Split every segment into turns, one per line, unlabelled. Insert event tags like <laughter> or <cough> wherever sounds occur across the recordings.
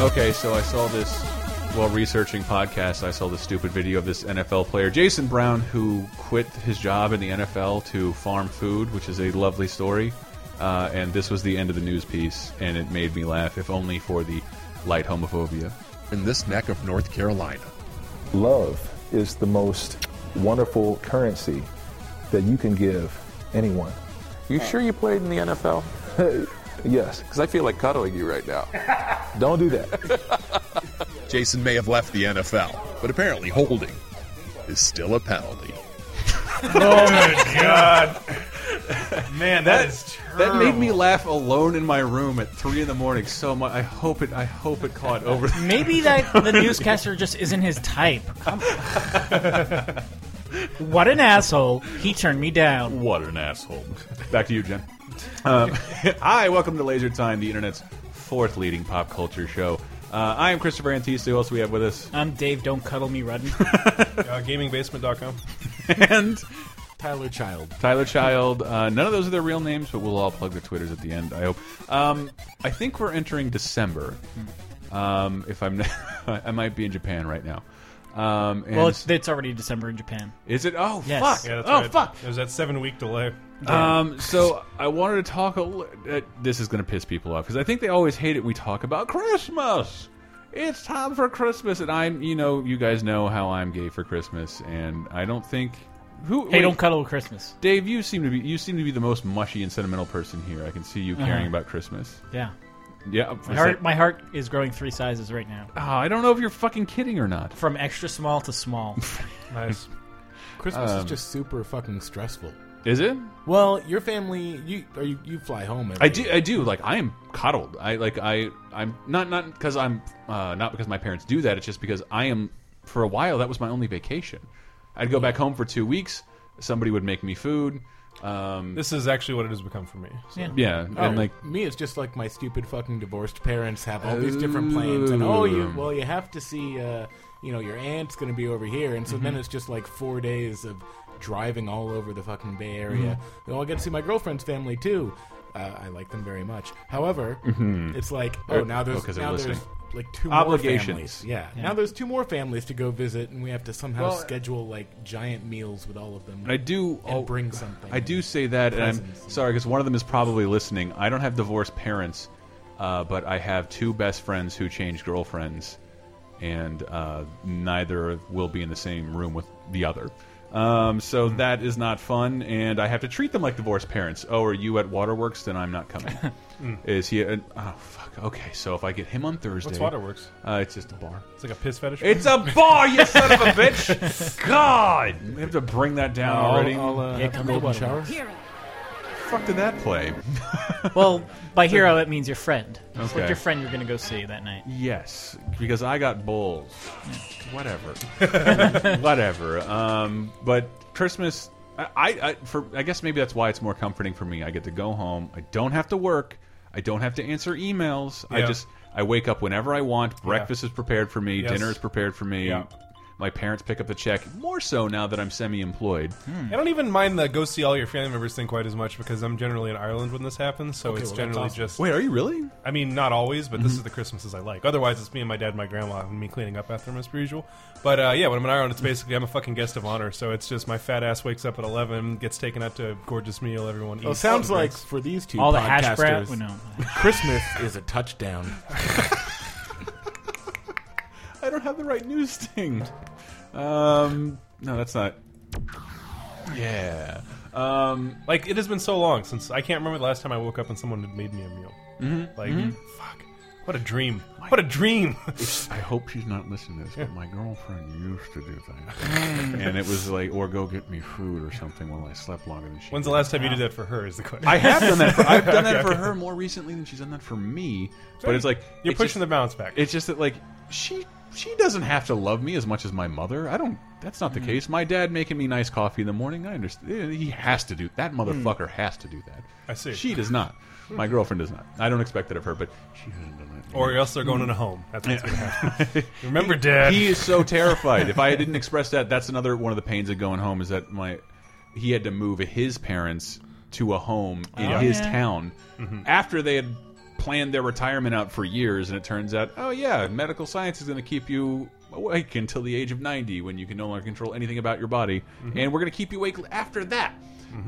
Okay, so I saw this while researching podcasts. I saw this stupid video of this NFL player, Jason Brown, who quit his job in the NFL to farm food, which is a lovely story. Uh, and this was the end of the news piece, and it made me laugh, if only for the light homophobia.
in this neck of North Carolina.
Love is the most wonderful currency that you can give anyone.
You sure you played in the NFL?
Yes,
Because I feel like cuddling you right now.
don't do that.
Jason may have left the NFL, but apparently holding is still a penalty.
Man, that is
That made me laugh alone in my room at three in the morning so much. I hope it. I hope it caught over.
Maybe that the newscaster just isn't his type. Come on. what an asshole. He turned me down.
What an <laughs> asshole. Back to you, Jen. Um, <laughs> hi, welcome to Laser Time, the internet's fourth leading pop culture show. Uh, I am Christopher Antista. Who else do we have with us?
I'm Um, Dave, don't cuddle me, Rudden.
uh, GamingBasement.com.
And <laughs>
Tyler Child.
Tyler Child. Uh, none of those are their real names, but we'll all plug their Twitters at the end, I hope. Um, I think we're entering December. Um, if I'm, <laughs> I might be in Japan right now. Um, and
Well, it's, it's already December in Japan.
is it? Oh,
Yes.
fuck.
Yeah, that's
oh,
right.
fuck.
There's that seven week delay.
Um, so I wanted to talk a li- uh, this is going to piss people off because I think they always hate it. We talk about Christmas. It's time for Christmas, and I'm, you know, you guys know how I'm gay for Christmas, and I don't think who.
Hey,
wait,
don't cuddle Christmas.
Dave, you seem to be you seem to be the most mushy and sentimental person here. I can see
Uh-huh.
you caring about Christmas.
Yeah.
Yeah, is
My heart,
that-
my heart is growing three sizes right now.
Ah, I don't know if you're fucking kidding or not.
From extra small to small.
Nice.
Christmas is just super fucking stressful.
Is it?
Well, your family, you are you, you fly home. Every
I do. I do. Like I am coddled. I like I. I'm not not because I'm uh, not because my parents do that. It's just because I am. For a while, that was my only vacation. I'd go back home for two weeks. Somebody would make me food. Um,
<laughs> This is actually what it has become for me. So.
Yeah.
yeah, and like
Oh, me, it's just like my stupid fucking divorced parents have all these different plans, and oh, you well, you have to see, uh, you know, your aunt's going to be over here, and so
Mm-hmm.
then it's just like four days of driving all over the fucking Bay Area.
Mm-hmm.
Oh, I get to see my girlfriend's family too. Uh, I like them very much. However, it's like oh, now there's
Mm-hmm. 'cause they're
now
listening.
there's like two
Obligations.
More families. Yeah. now there's two more families to go visit, and we have to somehow schedule like giant meals with all of them.
I do.
and
al-
bring something.
I do say that, and I'm
Presents.
sorry because one of them is probably listening. I don't have divorced parents, uh, but I have two best friends who changed girlfriends, and uh, neither will be in the same room with the other. Um, so that is not fun, and I have to treat them like divorced parents. Oh, are you at Waterworks? Then I'm not <laughs> coming. Hmm. Is he? At, oh, fuck. Okay, so if I get him on Thursday,
What's Waterworks?
Uh, it's just a bar.
It's like a piss fetish.
It's a bar, you son of a bitch! <laughs> God, Oh, we have to bring that down
I'll-
already.
I'll, uh,
Yeah,
have
come
a golden
on.
shower.
fuck did that play?
Well, by hero, it means your friend. It's
Okay.
like your friend you're going to go see that night.
Yes, because I got bulls.
<laughs>
Whatever, whatever. Um, but Christmas, I, I, I, for I guess maybe that's why it's more comforting for me. I get to go home. I don't have to work. I don't have to answer emails. I
Yeah.
just I wake up whenever I want. Breakfast is prepared for me.
Yes.
Dinner is prepared for me.
Yeah.
My parents pick up the check. More so now that I'm semi-employed.
I don't even mind the go see all your family members thing quite as much because I'm generally in Ireland when this happens, so it's
well, that's
generally
awesome. Mm-hmm.
just.
Wait, are you really?
I mean, not always, but this is the Christmases I like. Otherwise, it's me and my dad, and my grandma, and me cleaning up after them as per usual. But uh, yeah, when I'm in Ireland, it's
Mm-hmm.
basically I'm a fucking guest of honor. So it's just my fat ass wakes up at 11, gets taken out to a gorgeous meal, everyone eats.
Well, it sounds
and
like
drinks.
for these two
All the hash brown.
podcasters,
well, No.
Christmas is a touchdown. <laughs>
I don't have the right news sting. Um, no, that's not. Yeah. Um,
Like it has been so long since I can't remember the last time I woke up and someone had made me a meal. Mm-hmm. Like fuck, what a dream! What a dream! <laughs>
I hope she's not listening to this, but my girlfriend used to do
<laughs>
that. and it was like, or go get me food or something while I slept longer than she
When's the
did.
last time you did that for her? Is the question.
I have done that. For, I've done that for her more recently than she's done that for me. But it's like
<laughs> You're
it's
pushing the
just,
bounce back.
It's just that like she she doesn't have to love me as much as my mother. I don't. That's not the
Mm.
case. My dad making me nice coffee in the morning. I understand. He has to do that. Motherfucker has to do that.
Mm. I see. Hmm.
She does not. My girlfriend does not. I don't expect that of her, but she hasn't done that.
or else they're going to home. That's what's
<laughs>
gonna happen. Remember, Dad.
Mm. he is so terrified. If I didn't express that, that's another one of the pains of going home is that my he had to move his parents to a home in his
yeah.
Mm-hmm.
town after they had planned their retirement out for years, and it turns out, oh yeah, medical science is going to keep you awake until the age of ninety, when you can no longer control anything about your body,
Mm-hmm.
and we're going to keep you awake after that.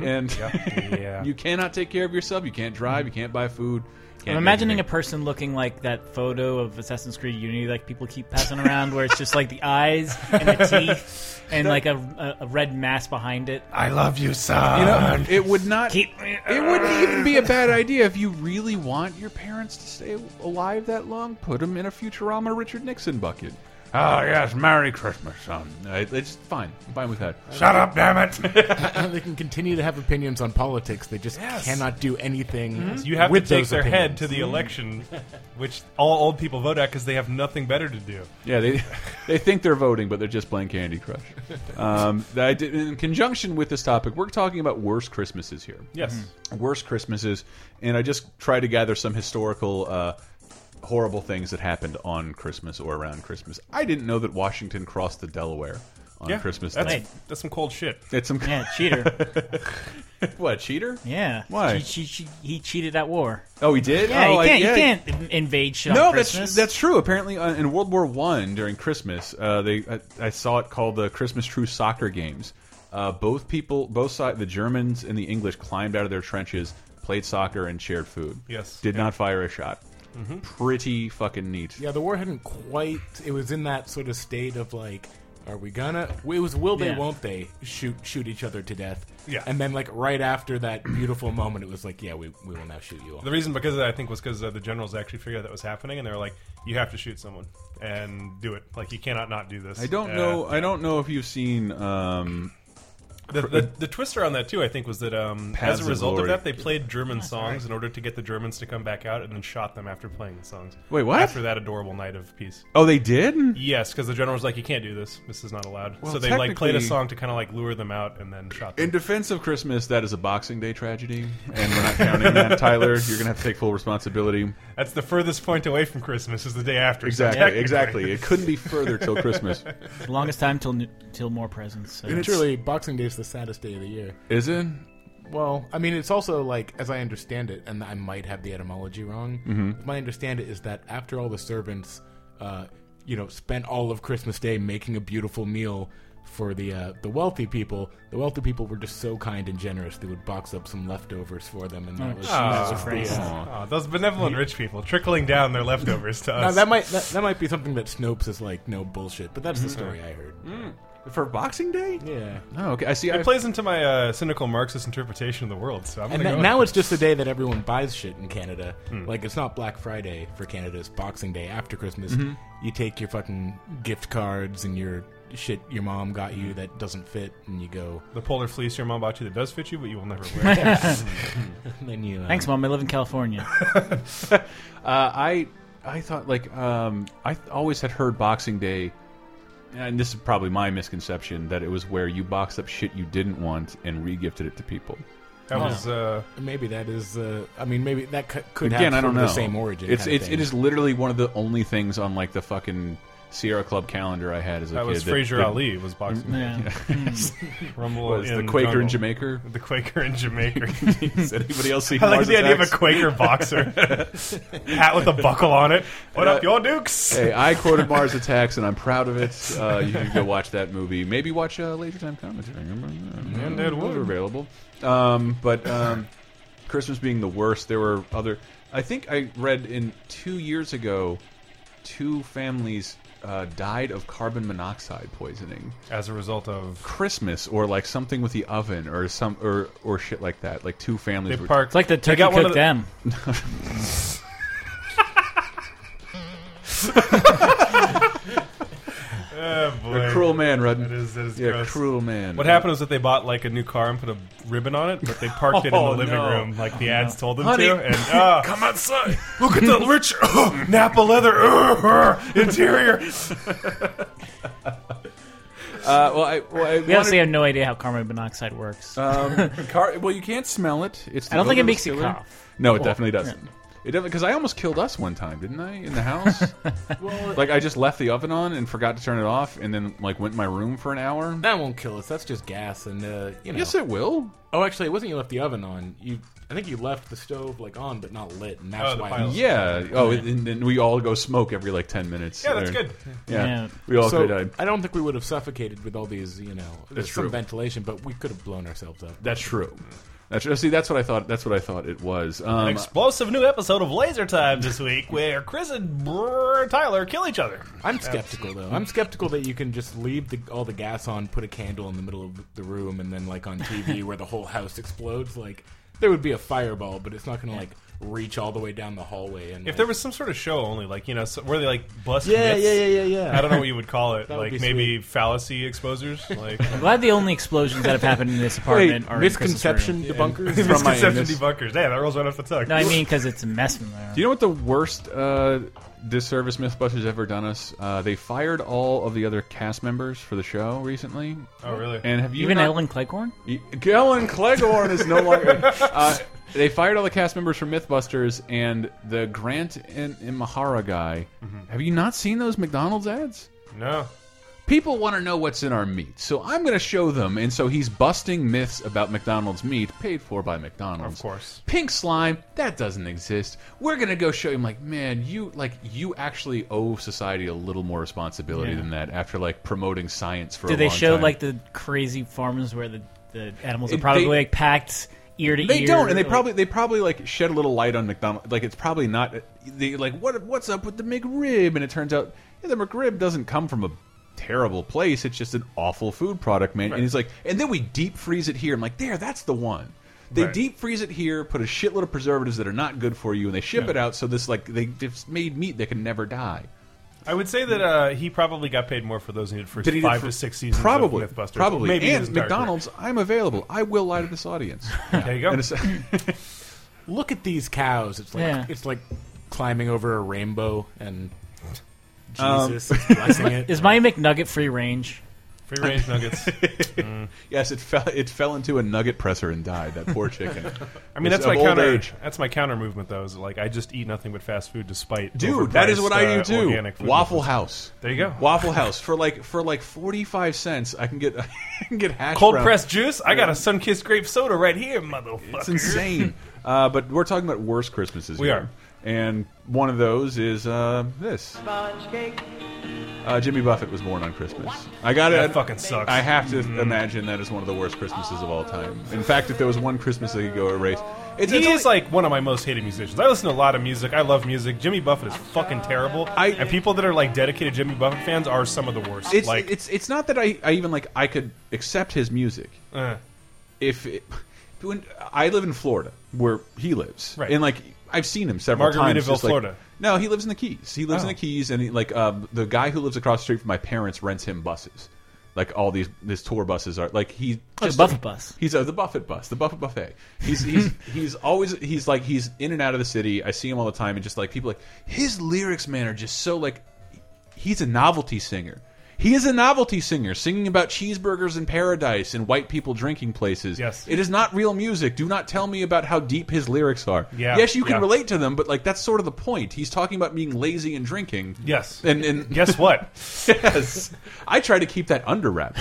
And <laughs>
Yeah.
you cannot take care of yourself. You can't drive. You can't buy food. can't
I'm
make
imagining a
anything.
person looking like that photo of Assassin's Creed Unity, like people keep passing around, where it's just like the eyes and the teeth and like a, a, a red mass behind it.
I love you, son.
You know, it would not.
Keep-
it wouldn't even be a bad idea if you really want your parents to stay alive that long. Put them in a Futurama Richard Nixon bucket. Oh yes, Merry Christmas, son. Uh, It's fine. I'm fine with that.
Shut up, damn it!
they can continue to have opinions on politics. They just
Yes. Mm-hmm.
cannot do anything.
You have
with
to take
those
their head
opinions. Mm-hmm.
to the
Mm.
election, which all old people vote at because they have nothing better to do.
Yeah, they <laughs> they think they're voting, but they're just playing Candy Crush. Um, that I did, in conjunction with this topic, we're talking about worst Christmases here.
Yes.
worst Christmases, and I just try to gather some historical uh, horrible things that happened on Christmas or around Christmas. I didn't know that Washington crossed the Delaware on
Yeah,
Christmas
that's,
night.
that's some cold shit.
It's some
Yeah, cheater.
what cheater?
Yeah.
Why?
She, she, she, he cheated at war.
Oh, he did.
Yeah,
oh,
you
I-
can't,
yeah.
you can't in- invade shit
No,
on
that's
Christmas.
that's true. Apparently, uh, in World War One during Christmas, uh, they I, I saw it called the Christmas True Soccer Games. Uh, both people, both side, the Germans and the English climbed out of their trenches, played soccer, and shared food.
Yes.
did not fire a shot. Pretty fucking neat.
Yeah, the war hadn't quite. It was in that sort of state of like, are we gonna? It was will they,
Yeah.
won't they? Shoot, shoot each other to death.
Yeah.
and then like right after that beautiful moment, it was like, yeah, we, we will now shoot you all.
The reason because of that, I think, was because uh, the generals actually figured out that was happening, and they were like, "You have to shoot someone and do it. Like, you cannot not do this."
I don't
Uh,
know. I don't know if you've seen. Um,
The, the, the twister on that too, I think, was that um,
uh, Paths
as a
of
result of
Glory.
that, they played German songs in order to get the Germans to come back out, and then shot them after playing the songs.
Wait, what?
After that adorable night of peace.
oh, they did.
Yes, because the general was like, "You can't do this. This is not allowed."
Well,
so they like played a
technically-
song to kind of like lure them out, and then shot them.
In defense of Christmas, that is a Boxing Day tragedy, and we're not counting that, Tyler. You're gonna have to take full responsibility.
That's the furthest point away from Christmas is the day after. so
Exactly.
technically-
Exactly. It couldn't be further till Christmas.
longest time till new- till more presents. So.
Literally, Boxing Day is the saddest day of the year.
Is it?
Well, I mean, it's also like, as I understand it, and I might have the etymology wrong. mm My understand it is that after all the servants, uh, you know, spent all of Christmas Day making a beautiful meal for the uh, the wealthy people, the wealthy people were just so kind and generous. They would box up some leftovers for them, and that was.
Jesus Christ.
Aw, those benevolent rich people trickling down their leftovers to
Now
us.
that might that, that might be something that Snopes is like no bullshit, but that's the story I heard.
For Boxing Day?
Yeah,
Oh, okay. I see. I
it plays into my uh, cynical Marxist interpretation of the world. So I'm
and
gonna
that,
go
now it's just the day that everyone buys shit in Canada. Like it's not Black Friday for Canada; it's Boxing Day after Christmas.
Mm-hmm.
You take your fucking gift cards and your shit your mom got you that doesn't fit, and you go.
the polar fleece your mom bought you that does fit you, but you will never
<laughs>
wear. it.
<laughs> And then you uh,
Thanks, mom. I live in California.
Uh, I I thought like um, I th- always had heard Boxing Day, and this is probably my misconception that it was where you boxed up shit you didn't want and regifted it to people.
That was uh,
Maybe that is. Uh, I mean, maybe that c- could
Again,
have
I don't
sort
know.
of the same origin.
It's
kind of
it's it
thing.
is literally one of the only things on like the fucking Sierra Club calendar I had as a
that
kid.
was Fraser Ali was boxing.
Yeah.
Rumble
Was
in
the Quaker in
jungle.
Jamaica?
The Quaker
<laughs>
in Jamaica.
Does anybody else see?
I like
Mars
the idea of a
Attacks? <laughs>
Quaker boxer hat with a buckle on it. What
Uh,
up, y'all dukes?
Hey, I quoted Mars Attacks, and I'm proud of it. Uh, you can go watch that movie. Maybe watch uh, Laser Time commentary. And
that
those
would.
are available. Um, but um, Christmas being the worst, there were other. I think I read in two years ago, two families uh, died of carbon monoxide poisoning.
As a result of
Christmas, or like something with the oven, or some, or or shit like that. Like two
they
families were.
parked.
It's like the
they
turkey
got one of
cooked
the-
them.
Oh, boy.
A cruel man, Rudd.
That is- that is
yeah,
gross.
cruel man.
What happened was that they bought like a new car and put a ribbon on it, but they parked it in the
Oh,
living
no.
room like
Oh,
the ads told them
Honey.
to. And uh,
<laughs>
come outside,
uh,
look at the rich
<laughs> oh,
Napa leather interior.
Uh, well, I, well, I
We honestly have no idea how carbon monoxide works.
Uh, Um, <laughs> car, well, you can't smell it. It's the
I don't think it
odorless
makes you
killer.
cough.
No, it definitely doesn't. It definitely because I almost killed us one time, didn't I? In the
<laughs>
house, <laughs> like I just left the oven on and forgot to turn it off, and then like went in my room for an hour.
That won't kill us. That's just gas, and uh, you know.
Yes, it will.
oh, actually, it wasn't. You left the oven on. You, I think you left the stove like on, but not lit, and that's
the
why.
pilot.
Yeah. Oh, and then we all go smoke every like ten minutes.
Yeah, that's
Or-
good.
Yeah,
Yeah.
we all could. uh,
So
have died.
I don't think we would have suffocated with all these, you know, there's
true.
some ventilation, but we could have blown ourselves up.
That's true. That's true. See, that's what I thought. That's what I thought it was. Um,
Explosive new episode of Laser Time this week where Chris and Brr Tyler kill each other.
I'm skeptical though. I'm skeptical that you can just leave the, all the gas on, put a candle in the middle of the room, and then like on TV where the whole house explodes. Like there would be a fireball, but it's not going to like reach all the way down the hallway. And
If there was some sort of show only, like, you know, so, where they like bust
yeah,
myths.
yeah, yeah, yeah, yeah.
I don't know what you would
<laughs>
call it.
That
like
would be
maybe fallacy exposers. Like
I'm
<laughs>
glad the only explosions that have happened in this apartment are in Chris's room.
misconception
<laughs>
debunkers.
from my
misconception
anus.
debunkers. Yeah, that rolls right off the tongue.
No, I mean because it's a mess in there.
Do you know what the worst uh, disservice MythBusters ever done us? Uh, they fired all of the other cast members for the show recently.
oh, really?
And have you
Even
not-
Ellen Cleghorn?
E- Ellen Cleghorn is no longer. <laughs> Uh, they fired all the cast members from MythBusters and the Grant and, and Mahara guy.
Mm-hmm.
Have you not seen those McDonald's ads?
no.
People want to know what's in our meat, so I'm going to show them. And so he's busting myths about McDonald's meat, paid for by McDonald's.
Of course.
Pink slime, that doesn't exist. We're going to go show him. Like, man, you like you actually owe society a little more responsibility
Yeah.
than that. After like promoting science for
Do
a
they
long
show
time.
like the crazy farms where the, the animals are
It-
probably
they-
like packed ear to
They
ear?
don't, and they
like-
probably they probably like shed a little light on McDonald. Like it's probably not. They like what what's up with the McRib? And it turns out yeah, the McRib doesn't come from a terrible place. It's just an awful food product, man. And he's like, and then we deep freeze it here. I'm like, there, that's the one. They
Right.
deep freeze it here, put a shitload of preservatives that are not good for you, and they ship it out. So this like they just made meat that can never die.
I would say that uh, he probably got paid more for those than he did for
Did he do
five
for-
to six seasons
Probably,
of MythBusters.
probably.
Maybe his
and
entire career.
McDonald's, I'm available. I will lie to this
<laughs>
audience.
There you go.
And it's-
Look at these cows. It's like
Yeah.
it's like climbing over a rainbow and Jesus Um, is <laughs> blessing it.
Is my McNugget free range?
Free
<laughs>
range nuggets.
Yes, it fell. It fell into a nugget presser and died. That poor chicken.
<laughs> I mean,
It's
that's
of
my
old
counter.
age.
That's my counter movement, though. Is like I just eat nothing but fast food, despite
Dude, that is what I do
overpriced, uh,
too.
organic food
Waffle
movements.
House.
There you go.
Waffle House for like for like forty five cents. I can get <laughs> I can get hash
Cold
brown.
pressed juice. I got a sun kissed grape soda right here, motherfucker.
It's insane. uh, but we're talking about worst Christmases.
We
here.
are.
and one of those is uh, this. Uh, Jimmy Buffett was born on Christmas. I got it.
That fucking sucks. Mm-hmm.
I have to imagine that is one of the worst Christmases of all time. In fact, if there was one Christmas they could go erase, it's,
He
it's
is
only-
like one of my most hated musicians. I listen to a lot of music. I love music. Jimmy Buffett is fucking terrible.
I-
and people that are like dedicated Jimmy Buffett fans are some of the worst.
it's
like
it's it's not that I, I even like I could accept his music
uh,
if it, when I live in Florida where he lives
Right.
and like I've seen him several times
Margaritaville,
just, like-
Florida.
no he lives in the Keys he lives in
Oh.
the Keys and he, like um, the guy who lives across the street from my parents rents him buses like all these this tour buses are like he
the Buffett bus.
he's uh, the Buffett bus the Buffett buffet he's
<laughs>
he's he's always he's like he's in and out of the city I see him all the time and just like people like his lyrics man are just so like he's a novelty singer. He is a novelty singer singing about cheeseburgers in paradise and white people drinking places.
Yes.
It is not real music. Do not tell me about how deep his lyrics are.
Yeah,
Yes, you can
yeah.
relate to them, but like that's sort of the point. He's talking about being lazy and drinking.
yes.
And
<laughs>
and
Guess
<laughs>
what?
yes. I try to keep that under
<laughs>
wraps.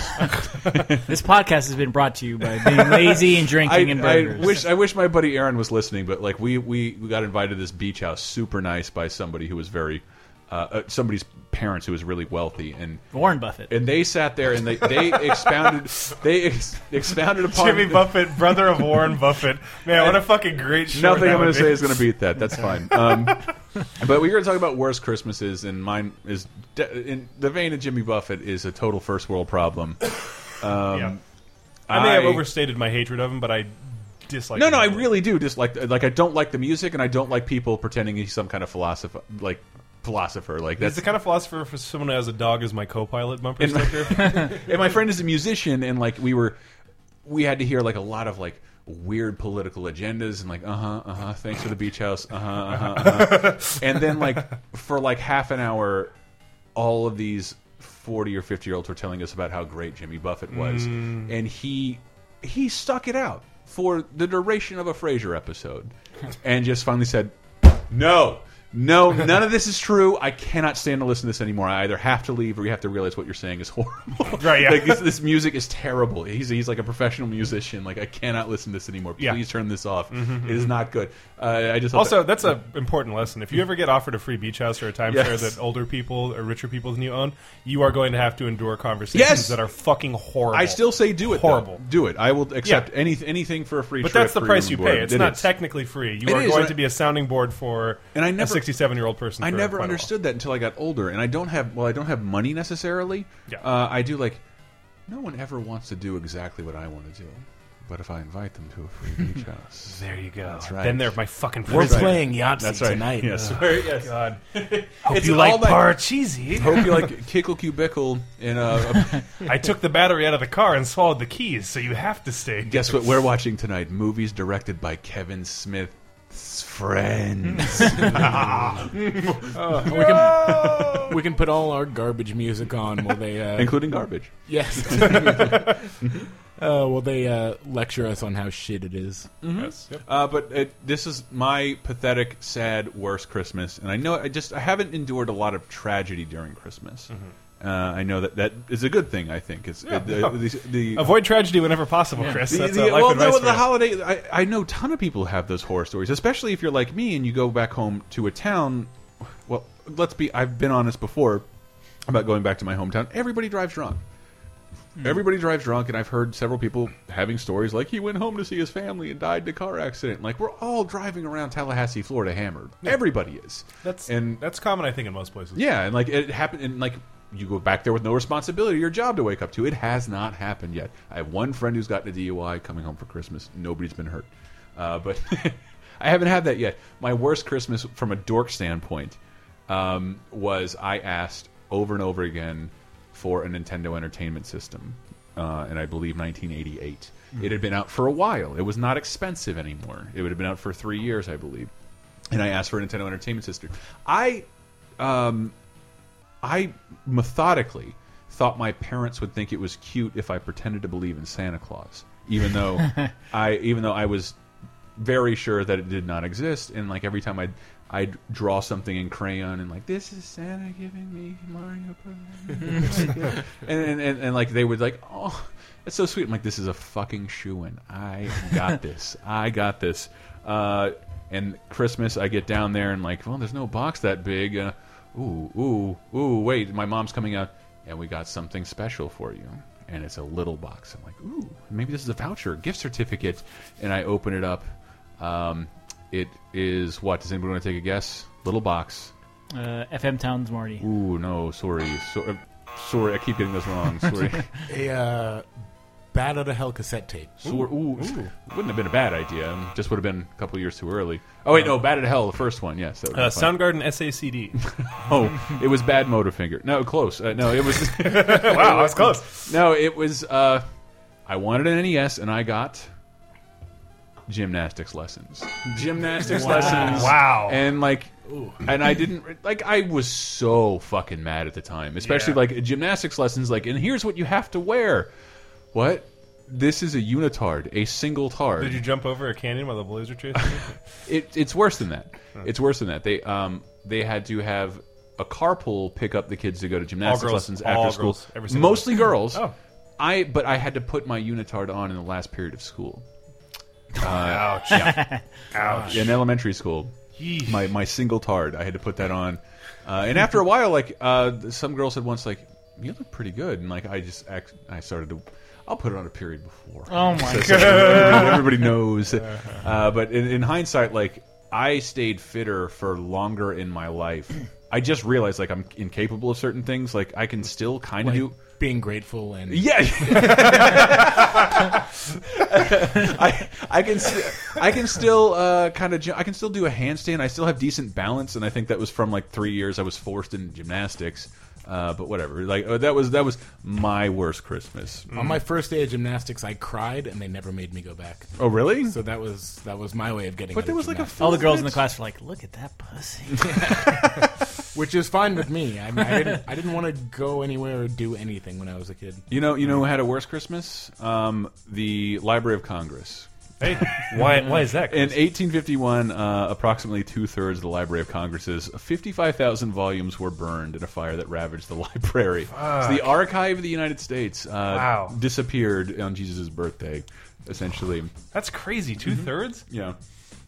This podcast has been brought to you by
<laughs>
being lazy and
I,
drinking and
I
burgers.
wish I wish my buddy Aaron was listening, but like we we, we got invited to this beach house, super nice by somebody who was very uh, uh, somebody's parents who was really wealthy and
Warren Buffett.
and they sat there and they, they
<laughs>
expounded they ex, expounded upon
Jimmy Buffett, brother of Warren Buffett. Man, what a fucking great short
nothing
that
I'm going
would
to say
be.
is going to beat that. That's fine.
<laughs>
Um, but we we're going to talk about worst Christmases, and mine is de in the vein of Jimmy Buffett is a total first world problem. Um,
Yeah. I may have
I-
overstated my hatred of him, but I dislike.
No,
him
no, I
for it.
really do dislike. Like I don't like the music, and I don't like people pretending he's some kind of philosopher. Like philosopher, like
He's
that's
the kind of philosopher for someone who has a dog as my co-pilot bumper
And my-
sticker.
<laughs> and my friend is a musician and like we were we had to hear like a lot of like weird political agendas and like uh-huh uh-huh thanks for the beach house uh-huh uh-huh, uh-huh. <laughs> and then like for like half an hour all of these 40 or 50 year olds were telling us about how great Jimmy Buffett was
Mm.
and he he
<laughs>
stuck it out for the duration of a Frasier episode and just finally said No, no, none of this is true. I cannot stand to listen to this anymore. I either have to leave or you have to realize what you're saying is <laughs> horrible.
Right, yeah.
like, this, this music is terrible. He's he's like a professional musician. Like I cannot listen to this anymore. Please
Yeah. Mm-hmm,
turn this off. It is not good. Uh, I just thought
Also,
that-
that's an important lesson. If you ever get offered a free beach house or a timeshare
Yes.
that older people or richer people than you own, you are going to have to endure conversations
Yes!
that are fucking horrible.
I still say do it. though.
Horrible.
Do it. I will accept any anything for a free.
But
trip,
that's the
free
price
room and
you
board.
pay. It's
It
not
is.
technically free. You
It
are
is,
going
and
to
I-
be a sounding board for
And I never-
a sixty-seven-year-old person.
I
for
never
quite a while.
understood that until I got older, and I don't have. Well, I don't have money necessarily.
Yeah.
Uh, I do like. No one ever wants to do exactly what I want to do, but if I invite them to a
<laughs>
free beach house,
There you go.
That's right.
Then they're my fucking.
We're
friends.
playing Yahtzee
that's right.
tonight.
Yes.
Ugh.
Yes.
<laughs>
God.
Hope
It's
you
all
like
that-
Parcheesi.
Hope you like Kickle Cubicle and uh,
I took the battery out of the car and swallowed the keys, so you have to stay.
guess what we're watching tonight? Movies directed by Kevin Smith's friends.
we <laughs> can we can put all our garbage music on while they uh,
including garbage.
<laughs>
<laughs>
yes. uh, while they uh, lecture us on how shit it is.
Yes. Yep.
Uh, but it, this is my pathetic, sad, worst Christmas, and I know I just I haven't endured a lot of tragedy during Christmas.
Mm-hmm.
Uh, I know that that is a good thing. I think it's uh, the,
<laughs> no.
the, the,
Avoid tragedy whenever possible, Chris.
the,
That's
the-
uh, life
well,
advice.
no,
for
the
you.
holiday. I, I know a ton of people have those horror stories, especially if you're like me and you go back home to a town. Well, let's be. I've been honest before about going back to my hometown. Everybody drives drunk.
Hmm.
Everybody drives drunk, and I've heard several people having stories like he went home to see his family and died in a car accident. Like we're all driving around Tallahassee, Florida, hammered. Everybody is.
That's
and
that's common, I think, in most places.
yeah, and like it happened, and like you go back there with no responsibility, your job to wake up to. It has not happened yet. I have one friend who's gotten a DUI coming home for Christmas. Nobody's been hurt, uh, but <laughs> I haven't had that yet. My worst Christmas, from a dork standpoint, um, was I asked over and over again for a Nintendo Entertainment System, uh, and I believe 1988. It had been out for a while. It was not expensive anymore. It would have been out for three years, I believe. And I asked for a Nintendo Entertainment System. I I methodically thought my parents would think it was cute if I pretended to believe in Santa Claus, even though I even though I was very sure that it did not exist. And like every time I would I'd draw something in crayon and like this is Santa giving me Mario. presents." <laughs> and, and, and and like they would like oh. It's so sweet. I'm like, this is a fucking shoe in. I got this. I got this. Uh, and Christmas, I get down there and like, well, there's no box that big. Uh, ooh, ooh, ooh, wait, my mom's coming out, and we got something special for you. And it's a little box. I'm like, ooh, maybe this is a voucher, a gift certificate. And I open it up. Um, it is what? Does anybody want to take a guess? Little box.
Uh, FM Towns Marty.
Ooh, no, sorry. So, uh, sorry, I keep getting those wrong. Sorry.
A uh, bat out of hell cassette tape.
Sor- ooh, wouldn't have been a bad idea. Just would have been a couple years too early. Oh wait, no, bad at hell, the first one. Yes, that would
Uh,
be fun.
Soundgarden SACD.
Oh, it was bad Motorfinger. No, close. Uh, no, it was.
<laughs>
<laughs>
wow, that's close.
No, it was. Uh, I wanted an NES, and I got gymnastics lessons. Gymnastics lessons.
Wow.
And like, and I didn't like. I was so fucking mad at the time, especially
Yeah.
like gymnastics lessons. Like, and here's what you have to wear. What? This is a unitard, a single tard.
Did you jump over a canyon while the Blues were chasing you?
It, it's worse than that. It's worse than that. They um they had to have a carpool pick up the kids to go to gymnastics
All girls.
lessons
All
after school.
girls. Every single
Mostly girls.
Oh.
I but I had to put my unitard on in the last period of school.
<laughs> Ouch. Ouch.
In elementary school, my my single tard, I had to put that on. Uh, and after a while, like uh, some girls had once like, "You look pretty good," and like I just act, I started to. I'll put it on a period before.
Oh my
So- so
<laughs>
everybody, everybody knows.
Uh-huh.
Uh, but in, in hindsight, like I stayed fitter for longer in my life. I just realized like I'm incapable of certain things. Like I can still kind of
Like,
do.
being grateful and
Yeah, <laughs> I I can st I can still uh, kind of I can still do a handstand. I still have decent balance, and I think that was from like three years I was forced in gymnastics. Uh, but whatever, like uh, that was that was my worst Christmas.
Mm.
on my first day of gymnastics, I cried and they never made me go back.
Oh really?
So that was that was my way of getting.
But
out
there
of
was like a
gymnastics,
All the girls in the class were like, "Look at
<laughs>
that pussy."
which is fine with me. I, mean, I didn't I didn't want to go anywhere or do anything when I was a kid.
You know, you know who had a worse Christmas? Um, the Library of Congress.
<laughs> Hey, why why is that?
In 1851, uh, approximately two thirds of the Library of Congress's 55,000 volumes were burned in a fire that ravaged the <laughs> library. So the Archive of the United States uh,
Wow.
disappeared on Jesus' birthday, essentially.
That's crazy. 2 thirds.
Yeah.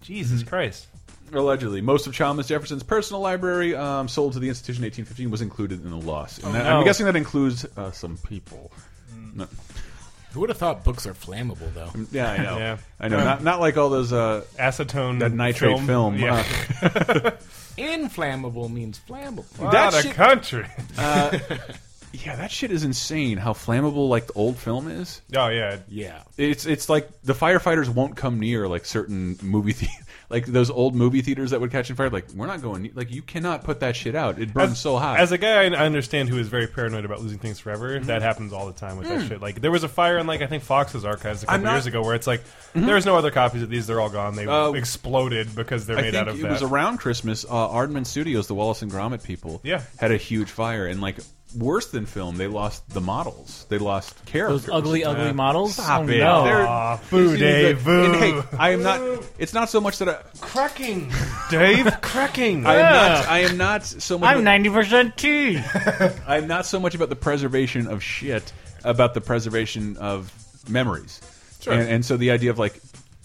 Jesus Christ.
Allegedly, most of Chalmers Jefferson's personal library, um, sold to the institution in 1815, was included in the loss. And that-
Oh, no. Mm.
I'm guessing that includes uh, some people. No-
Who would have thought books are flammable, though?
yeah, I know.
Yeah.
I know. Not not like all those uh,
Acetone.
that nitrate film.
Yeah.
Uh,
<laughs>
Inflammable means flammable.
Out
that
of
shit-
country.
yeah, that shit is insane. How flammable like the old film is.
Oh yeah.
Yeah.
It's it's like the firefighters won't come near like certain movie the <laughs> like those old movie theaters that would catch on fire. Like we're not going. Like you cannot put that shit out. It burns so hot.
As a guy, I I understand who is very paranoid about losing things forever. That happens all the time with that shit. Like there was a fire in like I think Fox's archives a couple
not-
years ago, where it's like there's no other copies of these. They're all gone. They
Uh,
exploded because they're
I
made
think
out of
it
that.
was around Christmas. Uh, Aardman Studios, the Wallace and Gromit people,
Yeah.
had a huge fire and like worse than film. They lost the models. They lost characters.
Those ugly, ugly models.
Stop
oh,
it.
No.
They're-
Aw, eh, boo, Dave, boo.
And, hey, I am not. It's not so much that I,
<laughs> cracking, Dave, cracking.
I am not. I am not so much.
I'm
about-
ninety percent
<laughs>
tea.
I'm not so much about the preservation of shit, about the preservation of memories. Sure. And, and so the idea of like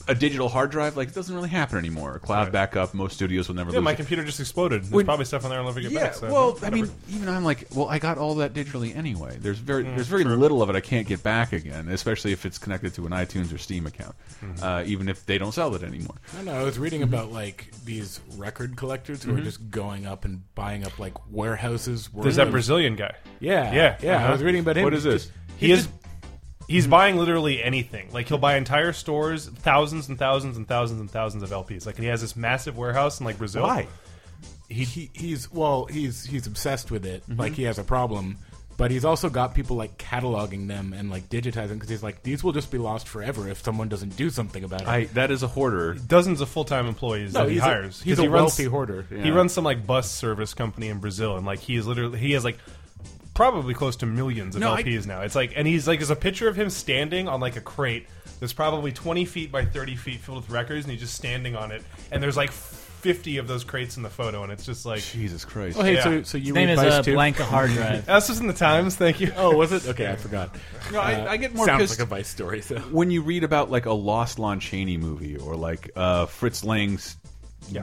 a digital hard drive, like it doesn't really happen anymore. Cloud backup, most studios will never
Yeah,
lose.
my
it.
computer just exploded. There's
When-
probably stuff on there I'll never get
yeah,
back. So
well, I
uh, whatever.
mean, even I'm like, well, I got all that digitally anyway. There's very, there's very little of it I can't get back again, especially if it's connected to an iTunes or Steam account, uh, even if they don't sell it anymore.
I know. I was reading
Mm-hmm.
about like these record collectors who are just going up and buying up like warehouses.
there's that
worth of-
Brazilian guy.
Yeah,
Yeah,
yeah.
uh-huh.
I was reading Hmm. about him.
What is
He's
this?
just-
He is. He's buying literally anything. Like he'll buy entire stores, thousands and thousands and thousands and thousands of LPs. Like he has this massive warehouse in like Brazil.
Why?
He, he he's well, he's he's obsessed with
Mm-hmm.
it. Like he has a problem, but he's also got people like cataloging them and like digitizing because he's like these will just be lost forever if someone doesn't do something about it.
I that is a hoarder.
Dozens of full time employees that he
he's
hires.
A, he's
'Cause
a
he runs-
wealthy hoarder.
He runs some like bus service company in Brazil, and like he is literally he has like probably close to millions of
No, I-
LPs now. It's like and he's like there's a picture of him standing on like a crate that's probably 20 feet by 30 feet filled with records, and he's just standing on it. And there's like 50 of those crates in the photo, and it's just like
Jesus Christ.
Oh, hey,
Yeah.
so so you
His name
read
is
Vice
uh,
too?
Blanca
<laughs>
Hard Drive.
that's just in the Times. Thank you. <laughs>
Oh, was it? Okay, I forgot.
No, I, I get more
Sounds
pissed.
like a Vice story. So.
when you read about like a lost Lon Chaney movie or like uh, Fritz Lang's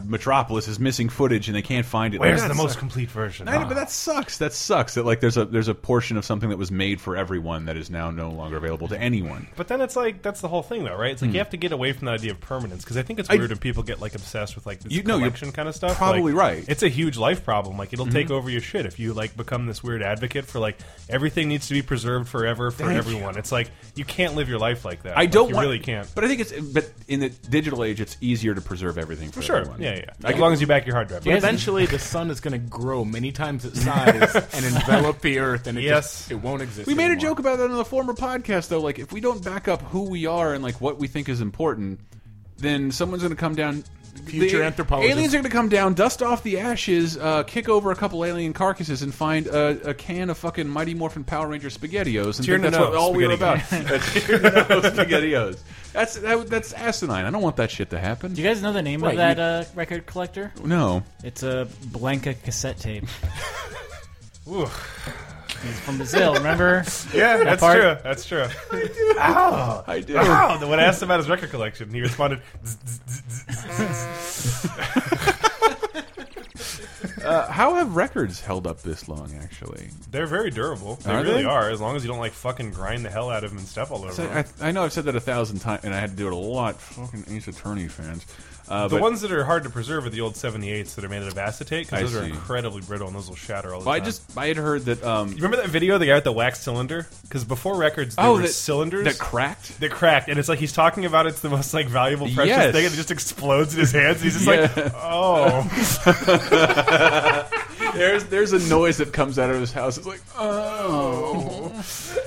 Metropolis is missing footage and they can't find it.
Where's
Like,
the
that
most
sucks.
complete version?
I know, but that sucks. That sucks. That like there's a there's a portion of something that was made for everyone that is now no longer available to anyone.
But then it's like that's the whole thing, though, right? It's like you have to get away from that idea of permanence because I think it's
Hmm. I-
weird when people get like obsessed with like this
You- no, you're
collection kind of stuff.
probably
Like,
right. Mm-hmm.
It's a huge life problem. Like it'll take over your shit if you like become this weird advocate for like everything needs to be preserved forever for everyone. It's like you can't live your life like that.
I
Like,
don't
you
want,
really can't.
But I think it's but in the digital age, it's easier to preserve everything for
Sure.
everyone.
Yeah, yeah. yeah.
I
As long as you back your hard drive.
But eventually, the sun is going to grow many times
<laughs>
its size and envelop the earth, and it
Yes.
just, it won't exist.
We made a
anymore.
joke about that on the former podcast, though. Like, if we don't back up who we are and like what we think is important, then someone's going to come down.
Future
the-
anthropologists.
Aliens are going to come down, dust off the ashes, uh, kick over a couple alien carcasses, and find a, a can of fucking Mighty Morphin Power Ranger SpaghettiOs. And think that's what
Tierno
all we were about.
SpaghettiOs.
<laughs> Tierno SpaghettiOs. That's that, that's asinine. I don't want that shit to happen.
Do you guys know the name
Right,
of
you-
that uh, record collector?
no.
It's a Blanca cassette tape.
Ooh.
He's from Brazil, remember?
Yeah, that's
part-
true. That's true.
<laughs> I do.
<laughs> Wow. When I asked about his record collection, he responded, "Zzz, zzz, zzz, zzz."
How have records held up this long, actually?
"They're very durable. They
Are
really
they?
are, as long as you don't like fucking grind the hell out of them and step all over."
So
them.
I, I know I've said that a thousand times, and I had to do it a lot. Fucking Ace Attorney fans. Uh,
The
but,
ones that are hard to preserve are the old 78s that are made out of acetate
I
because those are
see.
incredibly brittle and those will shatter all the
Well, I
time.
just I had heard that. Um,
you remember that video of the guy with the wax cylinder? Because before records, there were
Oh, that,
cylinders
that cracked.
that cracked, and it's like he's talking about it's the most like valuable, precious
Yes.
thing, and it just explodes in his hands. He's just
Yeah.
like,
<laughs>
oh,
There's there's a noise that comes out of his house. It's like oh.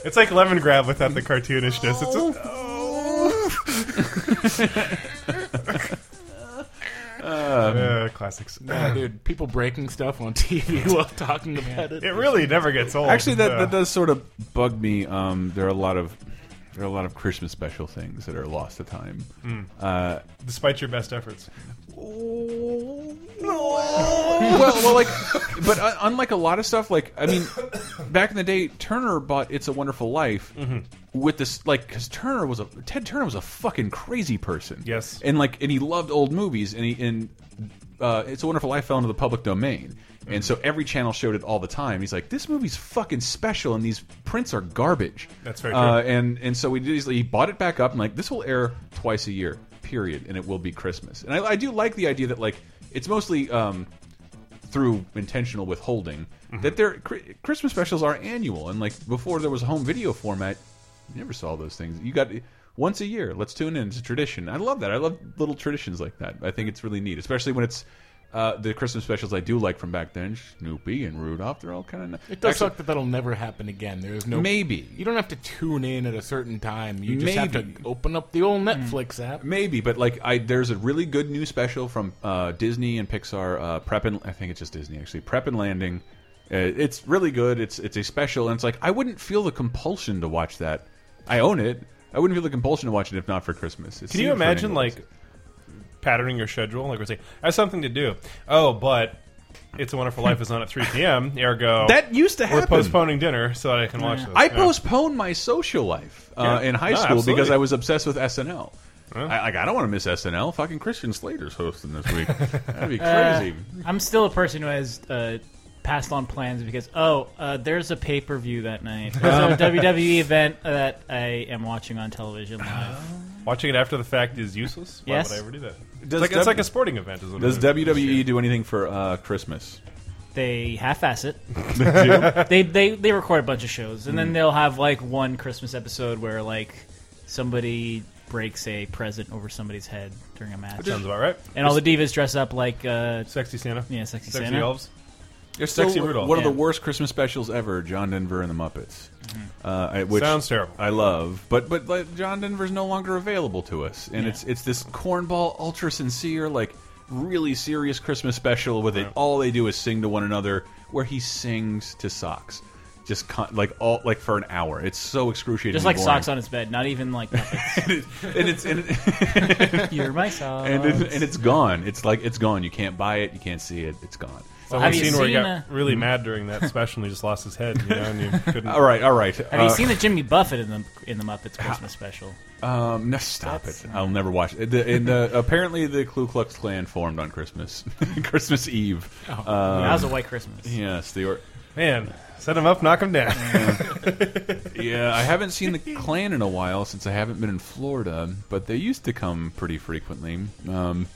it's like lemon grab without the cartoonishness. It's just,
<laughs> Um,
uh, classics.
Yeah, dude, people breaking stuff on <laughs> TV
<laughs>
while talking about it.
It really never gets old.
Actually, that,
Uh,
that does sort of bug me. Um, there are a lot of There are a lot of Christmas special things that are lost to time.
despite your best efforts.
well, well, like, but uh, unlike a lot of stuff, like I mean, back in the day, Turner bought "It's a Wonderful Life" with this, like, because Turner was a Ted Turner was a fucking crazy person.
Yes.
and like, and he loved old movies, and he and uh, "It's a Wonderful Life" fell into the public domain, and so every channel showed it all the time. He's like, "This movie's fucking special, and these prints are garbage."
That's very
Uh, and and so we did easily he bought it back up and like this will air twice a year period and it will be christmas and i, I do like the idea that like it's mostly um through intentional withholding that their Chri- christmas specials are annual and like before there was a home video format you never saw those things you got once a year let's tune in it's a tradition i love that i love little traditions like that i think it's really neat especially when it's uh, the Christmas specials I do like from back then, Snoopy and Rudolph, they're all kind of.
It does suck that that'll never happen again. There's no
Maybe.
you don't have to tune in at a certain time. You just have
Maybe. Hmm.
to open up the old Netflix app.
Maybe, but like I, there's a really good new special from uh, Disney and Pixar. Uh, Prep and I think it's just Disney actually. Prep and Landing. Uh, it's really good. It's it's a special, and it's like I wouldn't feel the compulsion to watch that. I own it. I wouldn't feel the compulsion to watch it if not for Christmas. It
Can you
seems
imagine
ridiculous.
like patterning your schedule? Like we're saying, I have something to do. Oh, but it's a Wonderful Life is on at 3
<laughs>
p.m. Ergo,
that used to
we're
happen?
postponing dinner so that I can watch this.
I
Yeah.
postponed my social life uh,
Yeah.
in high
No,
school because
absolutely.
I was obsessed with SNL. I, like I don't want to miss SNL. Fucking Christian Slater's hosting this
<laughs>
week. That'd be crazy.
I'm still a person who has uh, passed on plans because oh, uh, there's a pay per view that night. <laughs> There's a WWE event that I am watching on television live.
Watching it after the fact is useless. Why
Yes.
would I ever do that?
Does
it's, like,
W-
it's like a sporting event. Is what
Does
it is.
WWE do anything for uh, Christmas?
They half-ass it. they, they they record a bunch of shows and then they'll have like one Christmas episode where like somebody breaks a present over somebody's head during a match,
sounds about right?
and all the divas dress up like uh,
Sexy Santa.
yeah, sexy,
Sexy
Santa.
elves.
They're
Sexy Rudolph.
One
Yeah. Mm-hmm.
of the worst Christmas specials ever, John Denver and the Muppets. Uh, I- which
Sounds terrible.
I love, but but like, John Denver's no longer available to us, and it's it's this cornball, ultra sincere, like really serious Christmas special with it. All they do is sing to one another, where he sings to socks, just con like all like for an hour. It's so excruciating.
Just like socks on his bed, not even like <laughs> puppets.
and it's and, it,
you're my
<laughs>
socks.
and, it, and it's gone. It's like it's gone. You can't buy it. You can't see it. It's gone.
So
have
we've
you
seen where he
seen,
got
uh,
really mad during that special and he just lost his head, you know, and you
<laughs>
couldn't.
All right, all right.
Have you seen the Jimmy Buffett in the in the Muppets Christmas special?
Um, no, stop it. I'll never watch it. The, and the, <laughs> apparently, the Ku Klux Klan formed on Christmas, <laughs> Christmas Eve.
Oh.
Uh,
that was a white Christmas.
Yes, they were.
Man, set him up, knock him down.
Yeah, I haven't seen the
<laughs>
Klan in a while since I haven't been in Florida, but they used to come pretty frequently. Um,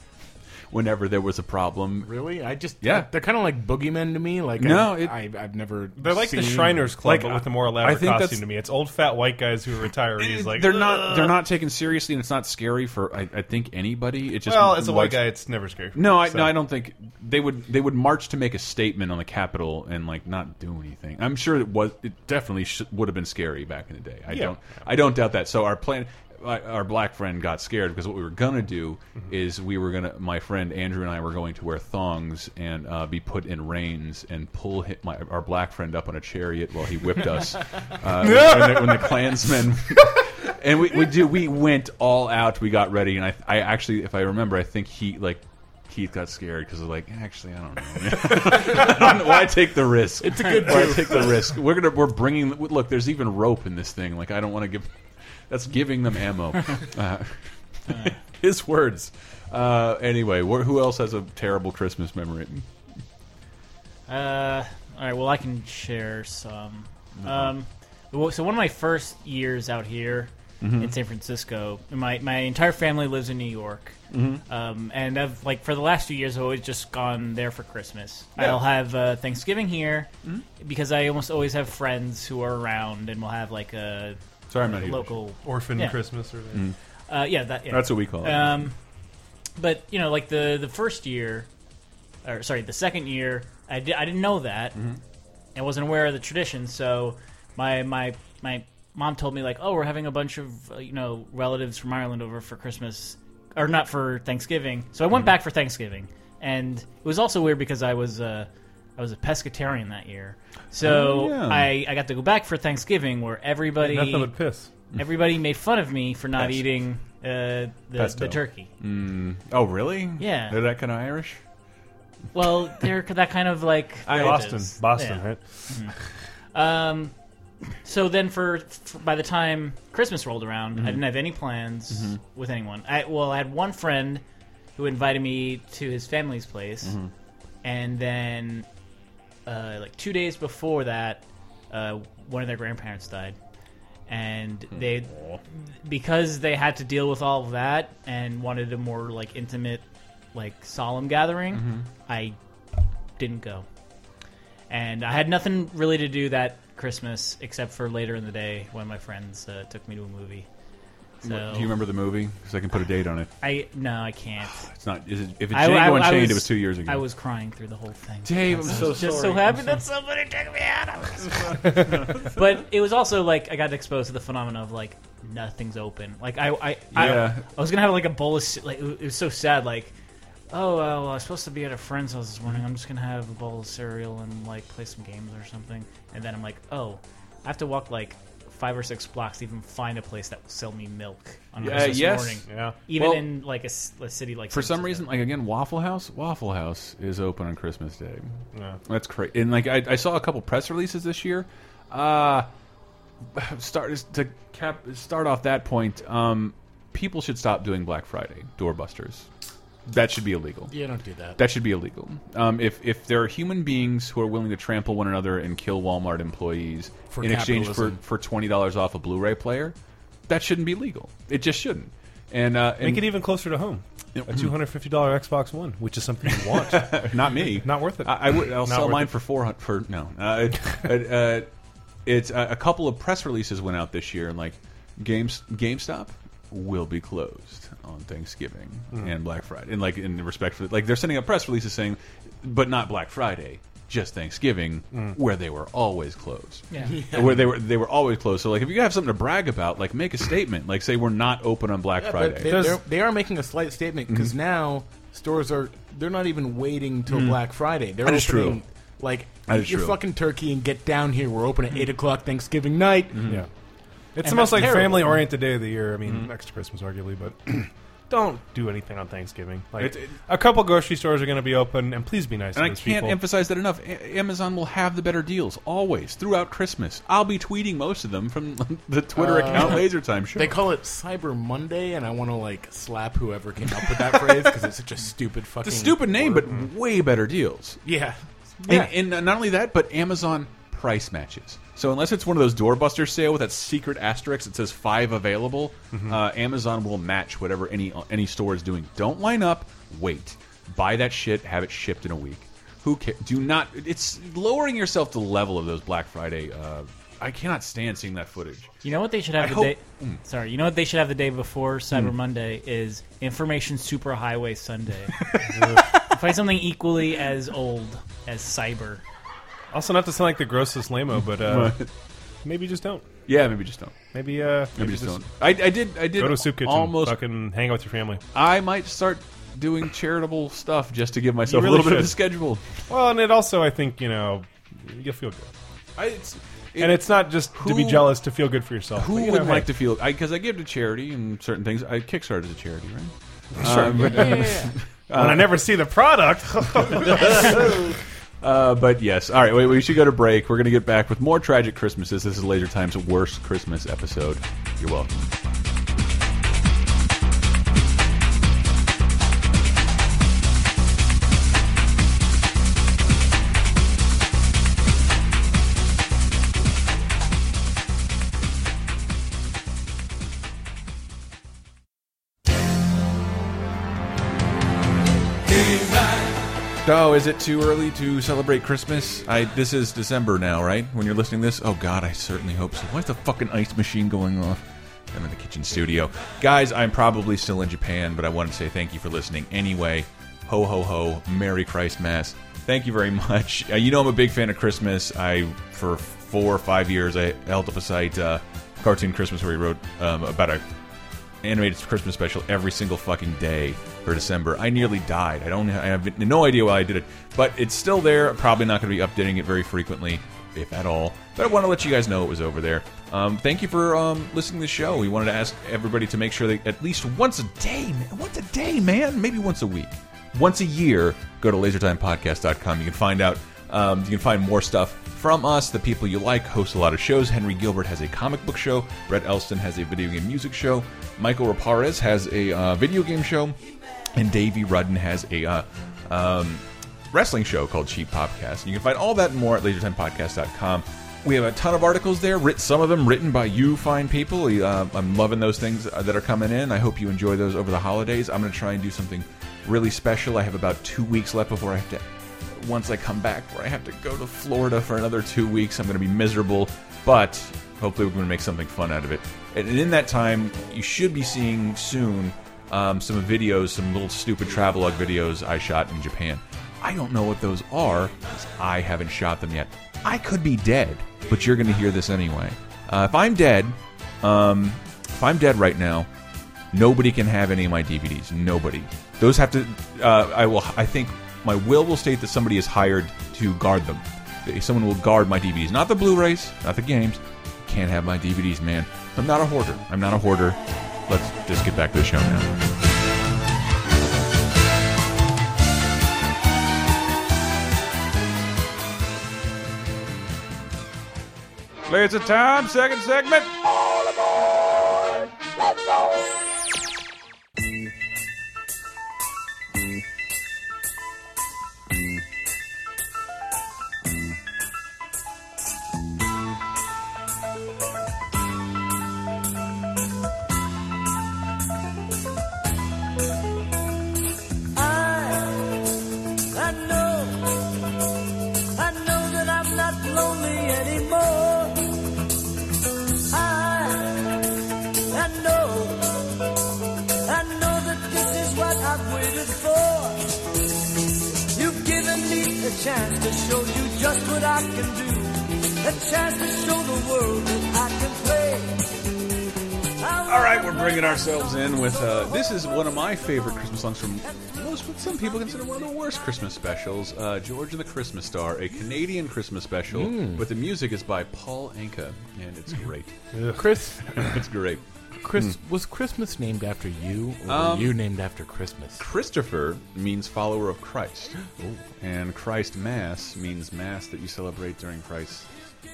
whenever there was a problem.
Really, I just
Yeah.
They're kind of like boogeymen to me. Like
No,
I,
it-
I, I've never.
They're like the
seen-
Shriners Club,
Like,
but with a more
I
elaborate
think that's- Eh,
costume to me. It's old fat white guys who are retirees. Like uh,
they're not. They're not taken seriously, and it's not scary for I, I think anybody. It just
Well, as a white
large-
guy, it's never scary.
No, I,
So-
no, I don't think they would. They would march to make a statement on the Capitol and like not do anything. I'm sure it was. It definitely sh would have been scary back in the day. I
Yeah.
don't. I don't doubt that. So our plan, I- our black friend got scared because what we were gonna do is we were gonna. My friend Andrew and I were going to wear thongs and uh, be put in reins and pull hi my, our black friend up on a chariot while he whipped us uh, when, the, when the Klansmen. And we, we do we went all out. We got ready, and I I actually, if I remember, I think he like Keith got scared because like actually I don't know. I don't know why take the risk. It's a good why take the risk. We're gonna we're bringing look. There's even rope in this thing. Like I don't want to give. That's giving them ammo.
<laughs>
Uh, <laughs> his words. Uh, anyway, wh who else has a terrible Christmas memory?
Uh, all right. Well, I can share some.
Mm-hmm.
Um, well, so one of my first years out here
Mm-hmm.
in San Francisco, my my entire family lives in New York,
Mm-hmm.
um, and I've like for the last few years, I've always just gone there for Christmas. I'll have uh, Thanksgiving here
Mm-hmm.
because I almost always have friends who are around, and we'll have like a
Sorry, I'm not here.
local.
Orphan
Yeah.
Christmas or
Mm.
Uh, yeah, that, yeah,
That's what we call it.
um, but you know, like the the first year, or sorry, the second year, I, di- I didn't know that. I wasn't aware of the tradition, so my my my mom told me like, oh, we're having a bunch of uh, you know relatives from Ireland over for Christmas, or not for Thanksgiving. So I went back for Thanksgiving, and it was also weird because I was. Uh, I was a pescatarian that year, so
Oh, yeah.
I, I got to go back for Thanksgiving where everybody
Nothing but piss.
Mm-hmm. everybody made fun of me for not
Pest.
eating uh, the,
Pesto.
the turkey.
Oh, really?
Yeah.
They're that kind of Irish?
Well, they're that kind of like
Boston,
relatives.
Boston,
Yeah.
right?
Um, so then for, for by the time Christmas rolled around, I didn't have any plans with anyone. I well, I had one friend who invited me to his family's place,
Mm-hmm.
and then uh, like two days before that, uh, one of their grandparents died, and
Hmm.
they because they had to deal with all of that and wanted a more like intimate, like solemn gathering.
Mm-hmm.
I didn't go and I had nothing really to do that Christmas except for later in the day when my friends uh, took me to a movie. So
Do you remember the movie? Because I can put a date on it.
I no, I can't.
It's not. Is it, if it's
I-
Django
I- I
Unchained,
was-
it was two years ago.
I was crying through the whole thing.
Dave, I'm so
just so
<laughs>
happy that somebody took me out. of it. but it was also like I got exposed to the phenomenon of like nothing's open. Like I, I,
Yeah.
I, I was gonna have like a bowl of ce- like it was so sad. Like oh well, I was supposed to be at a friend's house this morning. I'm just gonna have a bowl of cereal and like play some games or something. And then I'm like oh, I have to walk like five or six blocks to even find a place that will sell me milk on
Yeah,
Christmas
yes.
morning.
Yeah.
Even
Well,
in like a, s- a city like
For some
Cincinnati.
reason, like again, Waffle House. Waffle House is open on Christmas Day.
Yeah.
That's crazy. And like I, I saw a couple press releases this year. Uh <sighs> start to cap start off that point. Um, people should stop doing Black Friday doorbusters. That should be illegal.
Yeah, don't do that.
That should be illegal. Um, if if there are human beings who are willing to trample one another and kill Walmart employees
For
in exchange for,
capitalism.
for twenty dollars off a Blu-ray player, that shouldn't be legal. It just shouldn't. And, uh, and
Make it even closer to home. A two hundred fifty dollar Xbox One, which is something
<laughs>
you want.
Not me.
Not worth it.
I, I would. I'll
Not
sell
worth
mine
it.
for four hundred. For no. Uh, it, <laughs> it, uh, it's uh, a couple of press releases went out this year, and like games, GameStop will be closed on Thanksgiving
Hmm.
and Black Friday, and like in respect for like they're sending out press releases saying, but not Black Friday. Just Thanksgiving, where they were always closed.
Yeah.
where they were they were always closed. So like, if you have something to brag about, like make a statement. Like say we're not open on Black Friday.
But they,
Does-
they're, they are making a slight statement because
Mm-hmm.
now stores are they're not even waiting till Black Friday. They're
Mm. That
opening
is true.
like
That
eat
is
your
true. Mm.
fucking turkey and get down here. We're open at eight o'clock Thanksgiving night.
Mm-hmm.
yeah. It's the
And
most
that's
like
terrible.
family oriented day of the year. I mean, next to Christmas, arguably, but <clears throat> don't do anything on Thanksgiving. Like
It- it-
a couple grocery stores are going to be open, and please be nice.
And
to
I
those
can't
people.
emphasize that enough. A- Amazon will have the better deals always throughout Christmas. I'll be tweeting most of them from <laughs> the Twitter
Uh,
account Laser Time Show.
They call it Cyber Monday, and I want to like slap whoever came up with that <laughs> phrase because it's such a stupid fucking
the stupid name,
word.
but way better deals.
yeah,
And- And, not only that, but Amazon price matches. So unless it's one of those doorbuster sale with that secret asterisk that says five available,
Mm-hmm.
uh, Amazon will match whatever any any store is doing. Don't line up. Wait. Buy that shit. Have it shipped in a week. Who cares? Do not. It's lowering yourself to the level of those Black Friday. Uh, I cannot stand seeing that footage.
You know what they should have
I
the
hope- Hmm.
day. Sorry, you know what they should have the day before Cyber Monday is Information
<laughs>
Superhighway Sunday. Find something equally as old as cyber.
Also, not to sound like the grossest lameo, but uh, maybe just don't.
Yeah, maybe just don't.
Maybe uh,
Maybe, just, don't. I, I did. I did
Go to a soup kitchen.
almost
fucking hang out with your family.
I might start doing charitable stuff just to give myself
really
a little bit of a
should.
schedule.
Well, and it also, I think you know, you'll feel good.
I, it's,
and it's not just to be
who-
jealous to feel good for yourself.
who
but, you
would
know,
like
hey,
to feel because I, give to charity and certain things. I Kickstarter is a charity, right? Uh, but,
when I never see the product. <laughs>
uh, but yes, all right. Wait, we should go to break. We're going to get back with more tragic Christmases. This is Laser Time's worst Christmas episode. You're welcome. Oh, is it too early to celebrate Christmas? I this is December now, right? When you're listening to this, oh God, I certainly hope so. Why's the fucking ice machine going off? I'm in the kitchen studio, guys. I'm probably still in Japan, but I want to say thank you for listening anyway. Ho ho ho! Merry Christmas! Thank you very <laughs> much. Uh, you know I'm a big fan of Christmas. I for four or five years I held up a site, uh, Cartoon Christmas, where he wrote um, about a
animated Christmas special every single fucking day for December. I nearly died. I don't. I have no idea why I did it, but it's still there. I'm probably not going to be updating it very frequently, if at all. But I want to let you guys know it was over there. Um, thank you for um, listening to the show. We wanted to ask everybody to make sure that at least once a day, man, once a day, man, maybe once a week, once a year, go to lasertimepodcast.com. You can find out. Um, you can find more stuff from us, the people you like, hosts a lot of shows. Henry Gilbert has a comic book show. Brett Elston has a video game music show. Michael Raparez has a uh, video game show. And Davey Rudden has a uh, um, wrestling show called Cheap Popcast. You can find all that and more at lasertimepodcast.com. We have a ton of articles there, writ- some of them written by you fine people. Uh, I'm loving those things uh, that are coming in. I hope you enjoy those over the holidays. I'm going to try and do something really special. I have about two weeks left before I have to, once I come back, where I have to go to Florida for another two weeks. I'm going to be miserable, but hopefully we're going to make something fun out of it. And in that time, you should be seeing soon um, some videos, some little stupid travelogue videos I shot in Japan. I don't know what those are because I haven't shot them yet. I could be dead, but you're going to hear this anyway. Uh, if I'm dead, um, if I'm dead right now, nobody can have any of my DVDs. Nobody. Those have to. Uh, I will. I think my will will state that somebody is hired to guard them. Someone will guard my DVDs, not the Blu-rays, not the games. Can't have my DVDs, man. I'm not a hoarder. I'm not a hoarder. Let's just get back to the show now. It's a time, second segment.
I know, I know that I'm not lonely anymore. I, I know, I know that this is what I've waited for. You've given me a chance to show you just what I can do, a chance to show the world that I can play.
All right, we're bringing ourselves in with uh, this is one of my favorite Christmas songs from most what some people consider one of the worst Christmas specials. Uh, George and the Christmas Star, a Canadian Christmas special,
Mm.
but the music is by Paul Anka, and
<laughs>
it's great.
Chris,
it's great.
Chris,
Mm.
was Christmas named after you, or
Um,
were you named after Christmas?
Christopher means follower of Christ, and Christ Mass means Mass that you celebrate during Christ's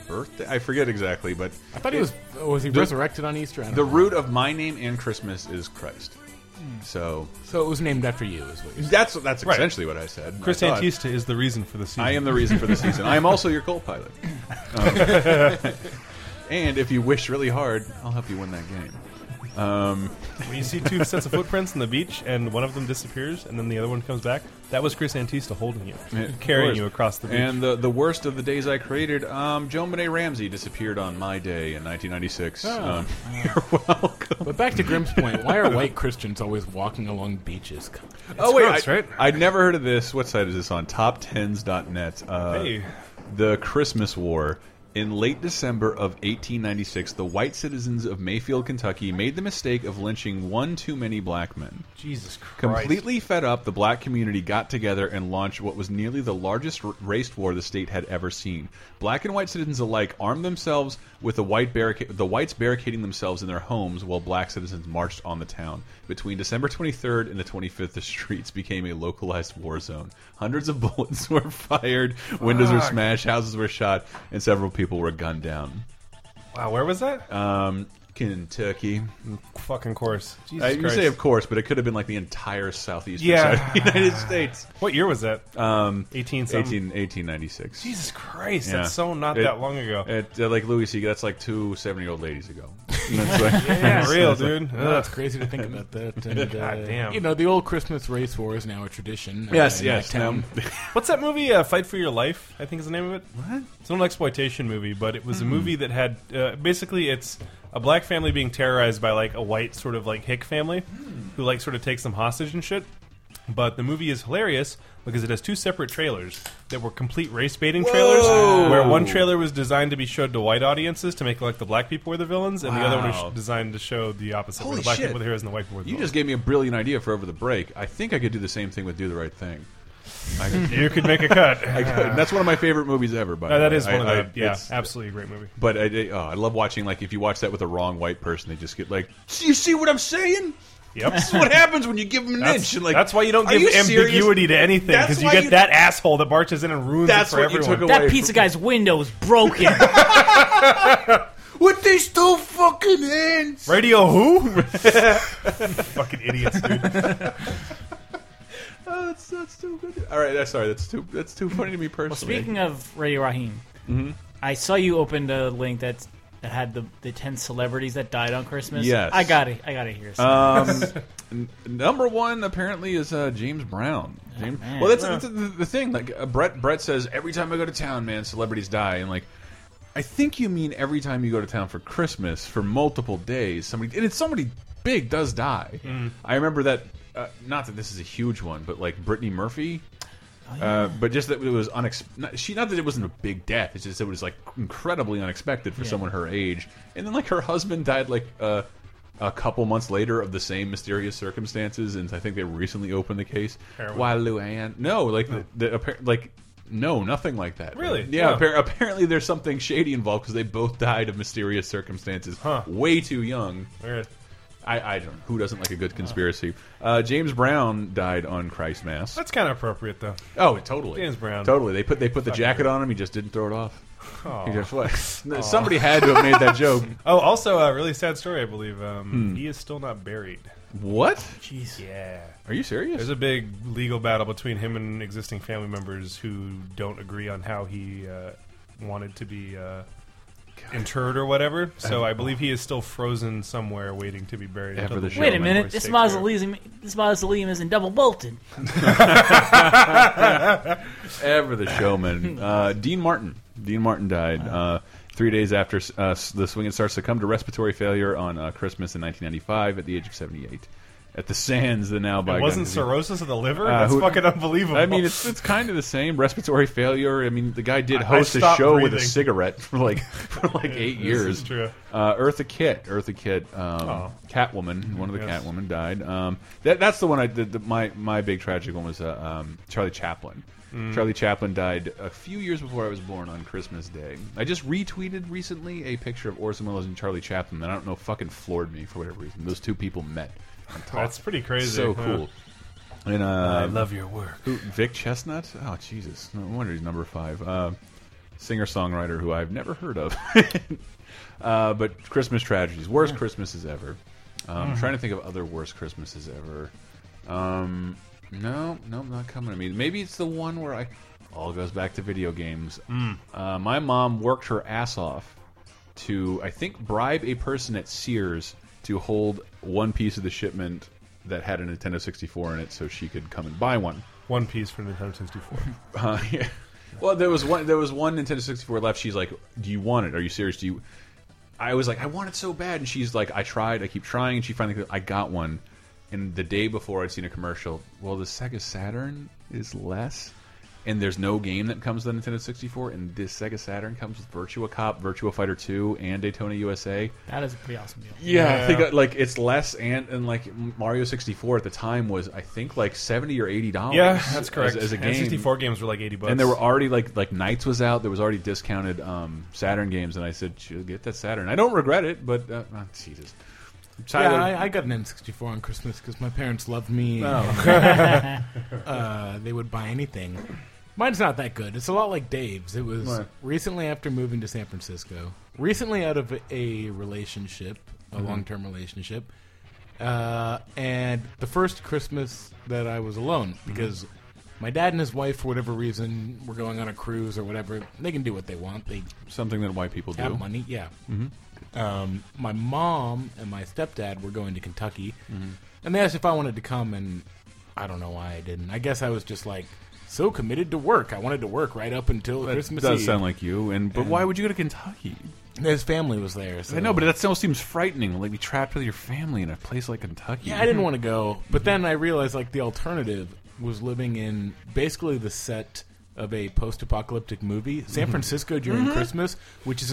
birthday. I forget exactly, but
I thought he was. Was he resurrected on Easter? I don't
the
know.
root of my name and Christmas is Christ.
Hmm.
So
So it was named after you, is what you're saying.
that's that's
Right.
essentially what I said. I
Chris
thought-
Antista is the reason for the season.
I am the reason for the season. I am also your co-pilot. Um, <laughs> and if you wish really hard, I'll help you win that game.
When you see two sets of footprints on the beach and one of them disappears and then the other one comes back, that was Chris Antista holding you,
Of
carrying
course.
you across the beach.
And the, the worst of the days I created, um, Joan Benet Ramsey disappeared on my day in 1996.
Oh.
Um, you're welcome.
But back to Grimm's point, why are white Christians always walking along beaches?
oh, wait.
gross,
I,
right?
I'd never heard of this. What site is this on? Top10s.net. Uh,
Hey.
The Christmas War. In late December of 1896, the white citizens of Mayfield, Kentucky made the mistake of lynching one too many black men.
Jesus Christ.
Completely fed up, the black community got together and launched what was nearly the largest r- race war the state had ever seen. Black and white citizens alike armed themselves with the white barricade, the whites barricading themselves in their homes while black citizens marched on the town. Between December 23rd and the 25th, the streets became a localized war zone. Hundreds of <laughs> bullets were fired, windows were smashed, houses were shot, and several people were gunned down.
Wow, where was that?
Um, Kentucky.
Fucking course. Jesus
Uh, you
Christ.
say of course, but it could have been like the entire southeastern
Yeah.
side of the United States.
what year was that?
Um,
18 something.
18, 1896.
Jesus Christ,
Yeah.
that's so not
It-
that
<laughs>
long ago.
It, uh, like Louis C. That's like two seven-year-old ladies
<laughs>
ago. That's like,
yeah, real, dude.
No,
Ugh.
it's crazy to think about that. And,
<laughs>
uh,
God damn.
You know, the old Christmas race war is now a tradition. uh,
Yes,
in my
yes.
town.
um,
What's that movie? Uh, Fight for Your Life, I think is the name of it. What? It's an exploitation movie, but it was
Hmm.
a movie that had uh, basically it's a black family
Hmm.
being terrorized by like a white sort of like hick family who like sort of takes them hostage and shit. But the movie is hilarious because it has two separate trailers that were complete race baiting trailers, where one trailer was designed to be showed to white audiences to make like the black people were the villains, and the other one
Wow.
was designed to show the opposite, where
Holy
the black
shit.
people were the heroes and the white people were the
You
villains.
just gave me a brilliant idea for over the break. I think I could do the same thing with Do the Right Thing. I could,
you could make a
<laughs>
cut.
I could- and that's one of my favorite movies ever. By
Uh,
the
that
way.
is one
I- I-
of the yeah,
it's-
absolutely a great movie.
But I, I- oh, I love watching like if you watch that with a wrong white person, they just get like, "See- "You see what I'm saying?
Yep.
This is what happens when you give them an
That's,
inch." And like,
that's why you don't
"Are
give
you serious?"
ambiguity to anything
That's
because you
why
get that asshole that marches in and ruins
That's
it for
what you
everyone.
took away.
That pizza guy's window
<laughs>
is broken.
With these two fucking hands.
<laughs>
Radio who? Fucking idiots, dude.
Oh, that's, that's too good. All right, that's sorry. That's too that's too funny to me personally.
well, speaking of Ray Rahim,
Mm-hmm.
I saw you opened a link that that had the the ten celebrities that died on Christmas.
Yes.
I got it. I got to hear. some.
Uh,
Um, n- number one apparently is uh, James Brown. James,
man.
well, that's, that's the, the thing. Like uh, Brett, Brett says every time I go to town, man, celebrities die, and like I think you mean every time you go to town for Christmas for multiple days, somebody and it's somebody big does die. I remember that. Uh, not that this is a huge one, but like Brittany Murphy. Uh, but just that it was unexpected. She not that it wasn't a big death. It's just it was like incredibly unexpected for someone her age. And then like her husband died like uh, a couple months later of the same mysterious circumstances. And I think they recently opened the case.
Heroin.
Why Luann? No, like The, the appar- like no, nothing like that.
Really?
Yeah.
Wow.
appar- apparently there's something shady involved because they both died of mysterious circumstances.
Huh.
Way too young.
Weird.
I, I don't. Who doesn't like a good conspiracy? Uh, James Brown died on Christmas.
That's kind of appropriate, though.
Oh, totally.
James Brown.
Totally. They put they put the jacket on him. He just didn't throw it off. He just what?
<laughs>
No, Somebody had to have made that joke.
Oh, also a really sad story, I believe.
Hmm.
Um, He is still not buried.
What?
Jeez.
Yeah.
Are you serious?
There's a big legal battle between him and existing family members who don't agree on how he uh, wanted to be uh, interred or whatever. So I believe he is still frozen somewhere, waiting to be buried.
After
until
the show.
Wait a
Roman
minute.
Lord
This
stakes are-
mausoleum, this mausoleum isn't double bolted.
Ever the
<laughs>
showman. Uh, Dean Martin. Dean Martin died uh, three days after uh, the swinging star succumbed to respiratory failure on uh, Christmas in 1995 at the age of 78 at the Sands. The now by
It wasn't cirrhosis of the liver?
Uh,
That's
who-
fucking unbelievable.
I mean, it's it's kind of the same respiratory failure. I mean, the guy did
I- I
host a
stopped
show with a
breathing.
cigarette <laughs> for like for
<laughs>
like eight
<laughs> this
years.
is true.
Uh, Eartha Kitt, Eartha Kitt, um,
Oh.
Catwoman. One of the
Yes.
Catwoman died. Um, that that's the one I did. The, my my big tragic one was uh, um, Charlie Chaplin.
Mm.
Charlie Chaplin died a few years before I was born on Christmas Day. I just retweeted recently a picture of Orson Welles and Charlie Chaplin that I don't know fucking floored me for whatever reason. Those two people met. and talked.
That's pretty crazy,
So
huh?
cool. And uh,
your work.
who, Vic Chestnut? Oh, Jesus. No wonder he's number five. Uh, Singer songwriter who I've never heard of. <laughs> uh, but Christmas tragedies. Worst Christmases ever. Um, I'm trying to think of other worst Christmases ever. Um, no, no, not coming to me. Maybe it's the one where I. All goes back to video games. Uh, my mom worked her ass off to, I think, bribe a person at Sears to hold one piece of the shipment that had a Nintendo 64 in it so she could come and buy one.
One Piece for Nintendo
<laughs>
64.
Uh, yeah. <laughs> Well, there was one. There was one Nintendo sixty four left. She's like, "Do you want it? Are you serious? Do you?" I was like, "I want it so bad," and she's like, "I tried. I keep trying." And she finally, goes, I got one. And the day before, I'd seen a commercial. Well, the Sega Saturn is less, and there's no game that comes with the Nintendo sixty four. And this Sega Saturn comes with Virtua Cop, Virtua Fighter two, and Daytona USA.
That is a pretty awesome deal.
Yeah, I
Yeah.
think uh, like it's less, and and like Mario sixty four at the time was I think like seventy or eighty dollars.
yeah, that's correct.
As, as a game,
And 64 games were like 80 bucks.
and there were already like like Knights was out. There was already discounted um, Saturn games, and I said, "Shoot, "Get that Saturn." I don't regret it, but uh, oh, Jesus, Tyler,
Yeah, I, I got an N64 on Christmas because my parents loved me. <laughs> uh, they would buy anything. Mine's not that good. It's a lot like Dave's. It was
Right.
recently after moving to San Francisco, recently out of a relationship, a long term relationship, uh, and the first Christmas that I was alone because my dad and his wife, for whatever reason, were going on a cruise or whatever. They can do what they want. They
something that white people do.
have money, yeah.
Mm-hmm.
Um, my mom and my stepdad were going to Kentucky,
Mm-hmm.
and they asked if I wanted to come, and I don't know why I didn't. I guess I was just like so committed to work. I wanted to work right up until
That
Christmas
does
Eve.
sound like you, and but why would you go to Kentucky?
His family was there. So.
I know, but that still seems frightening. Like be trapped with your family in a place like Kentucky.
Yeah, I didn't want to go, but then I realized like the alternative was living in basically the set of a post-apocalyptic movie, San
Mm-hmm.
Francisco during Christmas, which is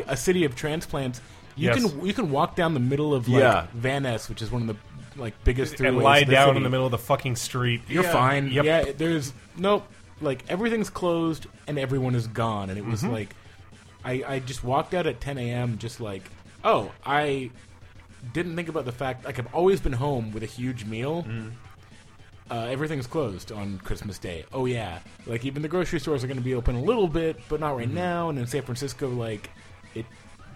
yeah.
a city of transplants. You
Yes.
can you can walk down the middle of like
Yeah.
Van Ness, which is one of the like biggest
and
throughways
lie
to
down
city.
in the middle of the fucking street.
You're fine.
Yep.
Yeah, it- there's nope. Like everything's closed and everyone is gone, and it was like, I I just walked out at 10 a.m. Just like, oh, I didn't think about the fact like I've always been home with a huge meal. Uh, everything's closed on Christmas Day. Oh yeah, like even the grocery stores are going to be open a little bit, but not right now. And in San Francisco, like it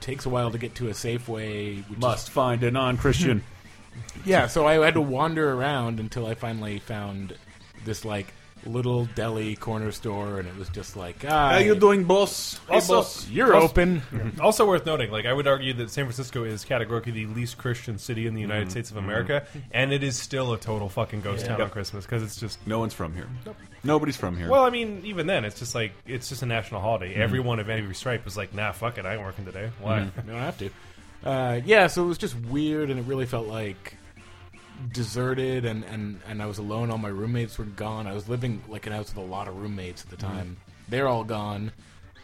takes a while to get to a Safeway. Which is-
Must find a non-Christian.
yeah, so I had to wander around until I finally found this like little deli corner store, and it was just like, ah,
doing, boss?
You're open.
<laughs> Also worth noting, like I would argue that San Francisco is categorically the least Christian city in the
Mm-hmm.
United States of America, and it is still a total fucking ghost town on Christmas because it's just.
No one's from here. Nobody's from here.
Well, I mean, even then, it's just like it's just a national holiday.
Mm.
Everyone of every stripe is like, nah, fuck it, I ain't working today. Why?
You don't have to. Uh, yeah, so it was just weird, and it really felt like deserted, and, and, and I was alone. All my roommates were gone. I was living like in a house with a lot of roommates at the time. They're all gone.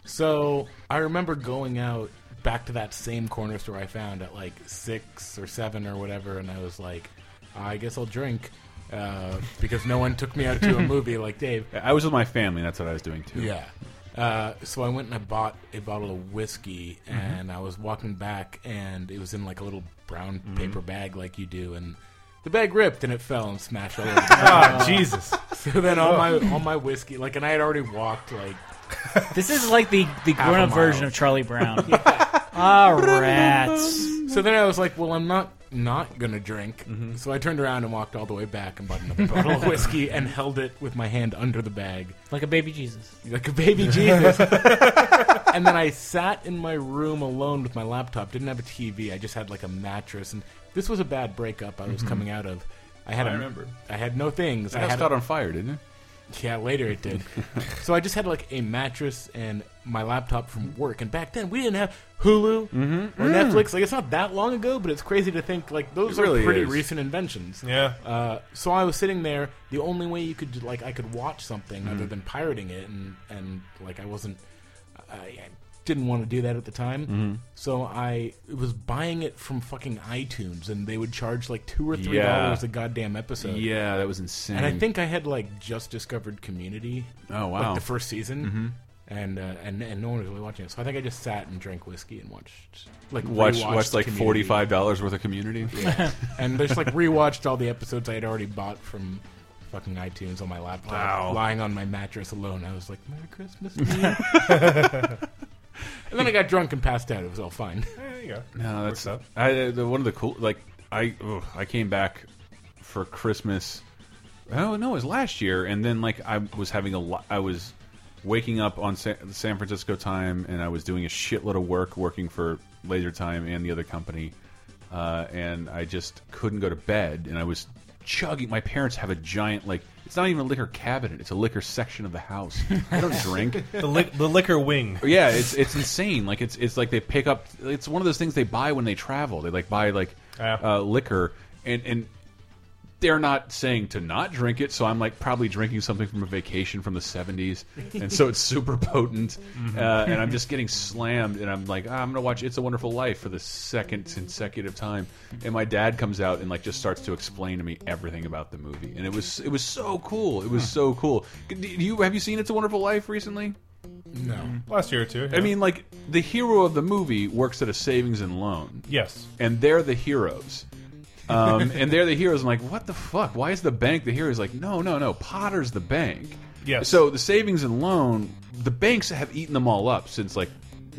So I remember going out back to that same corner store I found at like six or seven or whatever, and I was like, I guess I'll drink uh, because no one took me out to a movie like Dave.
I was with my family. And that's what I was doing too.
Yeah. Uh, so I went and I bought a bottle of whiskey, and I was walking back, and it was in like a little brown paper bag, like you do, and the bag ripped, and it fell and smashed all over. the
<laughs>
ground.
Ah, Jesus.
so then all my all my whiskey, like, and I had already walked like
This is like the, the grown up
mile.
version of Charlie Brown. Ah, rats.
So then I was like, well, I'm not not gonna drink. So I turned around and walked all the way back and bought another bottle of whiskey and held it with my hand under the bag,
Like a baby Jesus.
like
<laughs>
a baby Jesus. and then I sat in my room alone with my laptop. Didn't have a TV. I just had like a mattress. And this was a bad breakup I was coming out of. I had.
Mm-hmm. I
a-
remember.
I had no things.
I
I
got
had.
caught on fire, didn't it?
yeah, later it did. so I just had like a mattress and my laptop from work. And back then we didn't have Hulu
Mm-hmm.
or Netflix. Like it's not that long ago, but it's crazy to think like those
Mm. It really
are pretty
is.
recent inventions.
Yeah.
Uh, so I was sitting there. The only way you could like I could watch something
Mm-hmm.
other than pirating it, and and like I wasn't, I, I didn't want to do that at the time.
Mm-hmm.
So I was buying it from fucking iTunes, and they would charge like two or three
Yeah.
dollars a goddamn episode.
Yeah, that was insane.
And I think I had like just discovered Community.
Oh, wow. Mm-hmm.
Like the first season. And, uh, and and no one was really watching it, so I think I just sat and drank whiskey and watched like
watch
rewatched
watch like
Community.
forty five dollars worth of Community.
and just like rewatched all the episodes I had already bought from fucking iTunes on my laptop,
Wow.
lying on my mattress alone. I was like, "Merry Christmas." Eve." and then I got drunk and passed out. It was all fine.
There you go.
No, that's <laughs>
Works
I, the, one of the cool. Like I, ugh, I came back for Christmas. Oh no, it was last year, and then like I was having a lot. I was waking up on San, San Francisco time, and I was doing a shitload of work, working for Laser Time and the other company, uh, and I just couldn't go to bed, and I was chugging. My parents have a giant like. It's not even a liquor cabinet; it's a liquor section of the house. I don't drink.
The, li- the liquor wing.
Yeah, it's it's insane. Like it's it's like they pick up. It's one of those things they buy when they travel. They like buy like
Yeah.
uh, liquor, and and they're not saying to not drink it. So I'm like probably drinking something from a vacation from the '70s, and so it's super potent. Uh, and I'm just getting slammed, and I'm like, "Ah, I'm gonna watch It's a Wonderful Life for the second consecutive time. And my dad comes out and like just starts to explain to me everything about the movie, and it was it was so cool. It was so cool. Do you have you seen It's a Wonderful Life recently?
Last year or two. yeah.
I mean, like the hero of the movie works at a savings and loan,
yes.
and they're the heroes. Um, and they're the heroes. I'm like, what the fuck? Why is the bank the hero? He's like, no, no, no. Potter's the bank.
Yes.
So the savings and loan, the banks have eaten them all up since like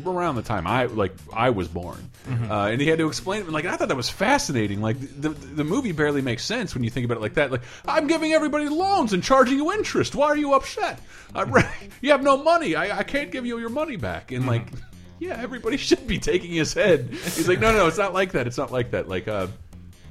around the time I like I was born. Uh, and he had to explain it. And, Like I thought that was fascinating. Like the, the the movie barely makes sense when you think about it like that. Like I'm giving everybody loans and charging you interest. Why are you upset? <laughs> I, you have no money. I, I can't give you your money back. And like,
Mm-hmm.
yeah, everybody <laughs> should be taking his head. He's like, no, no, no, it's not like that. It's not like that. Like. uh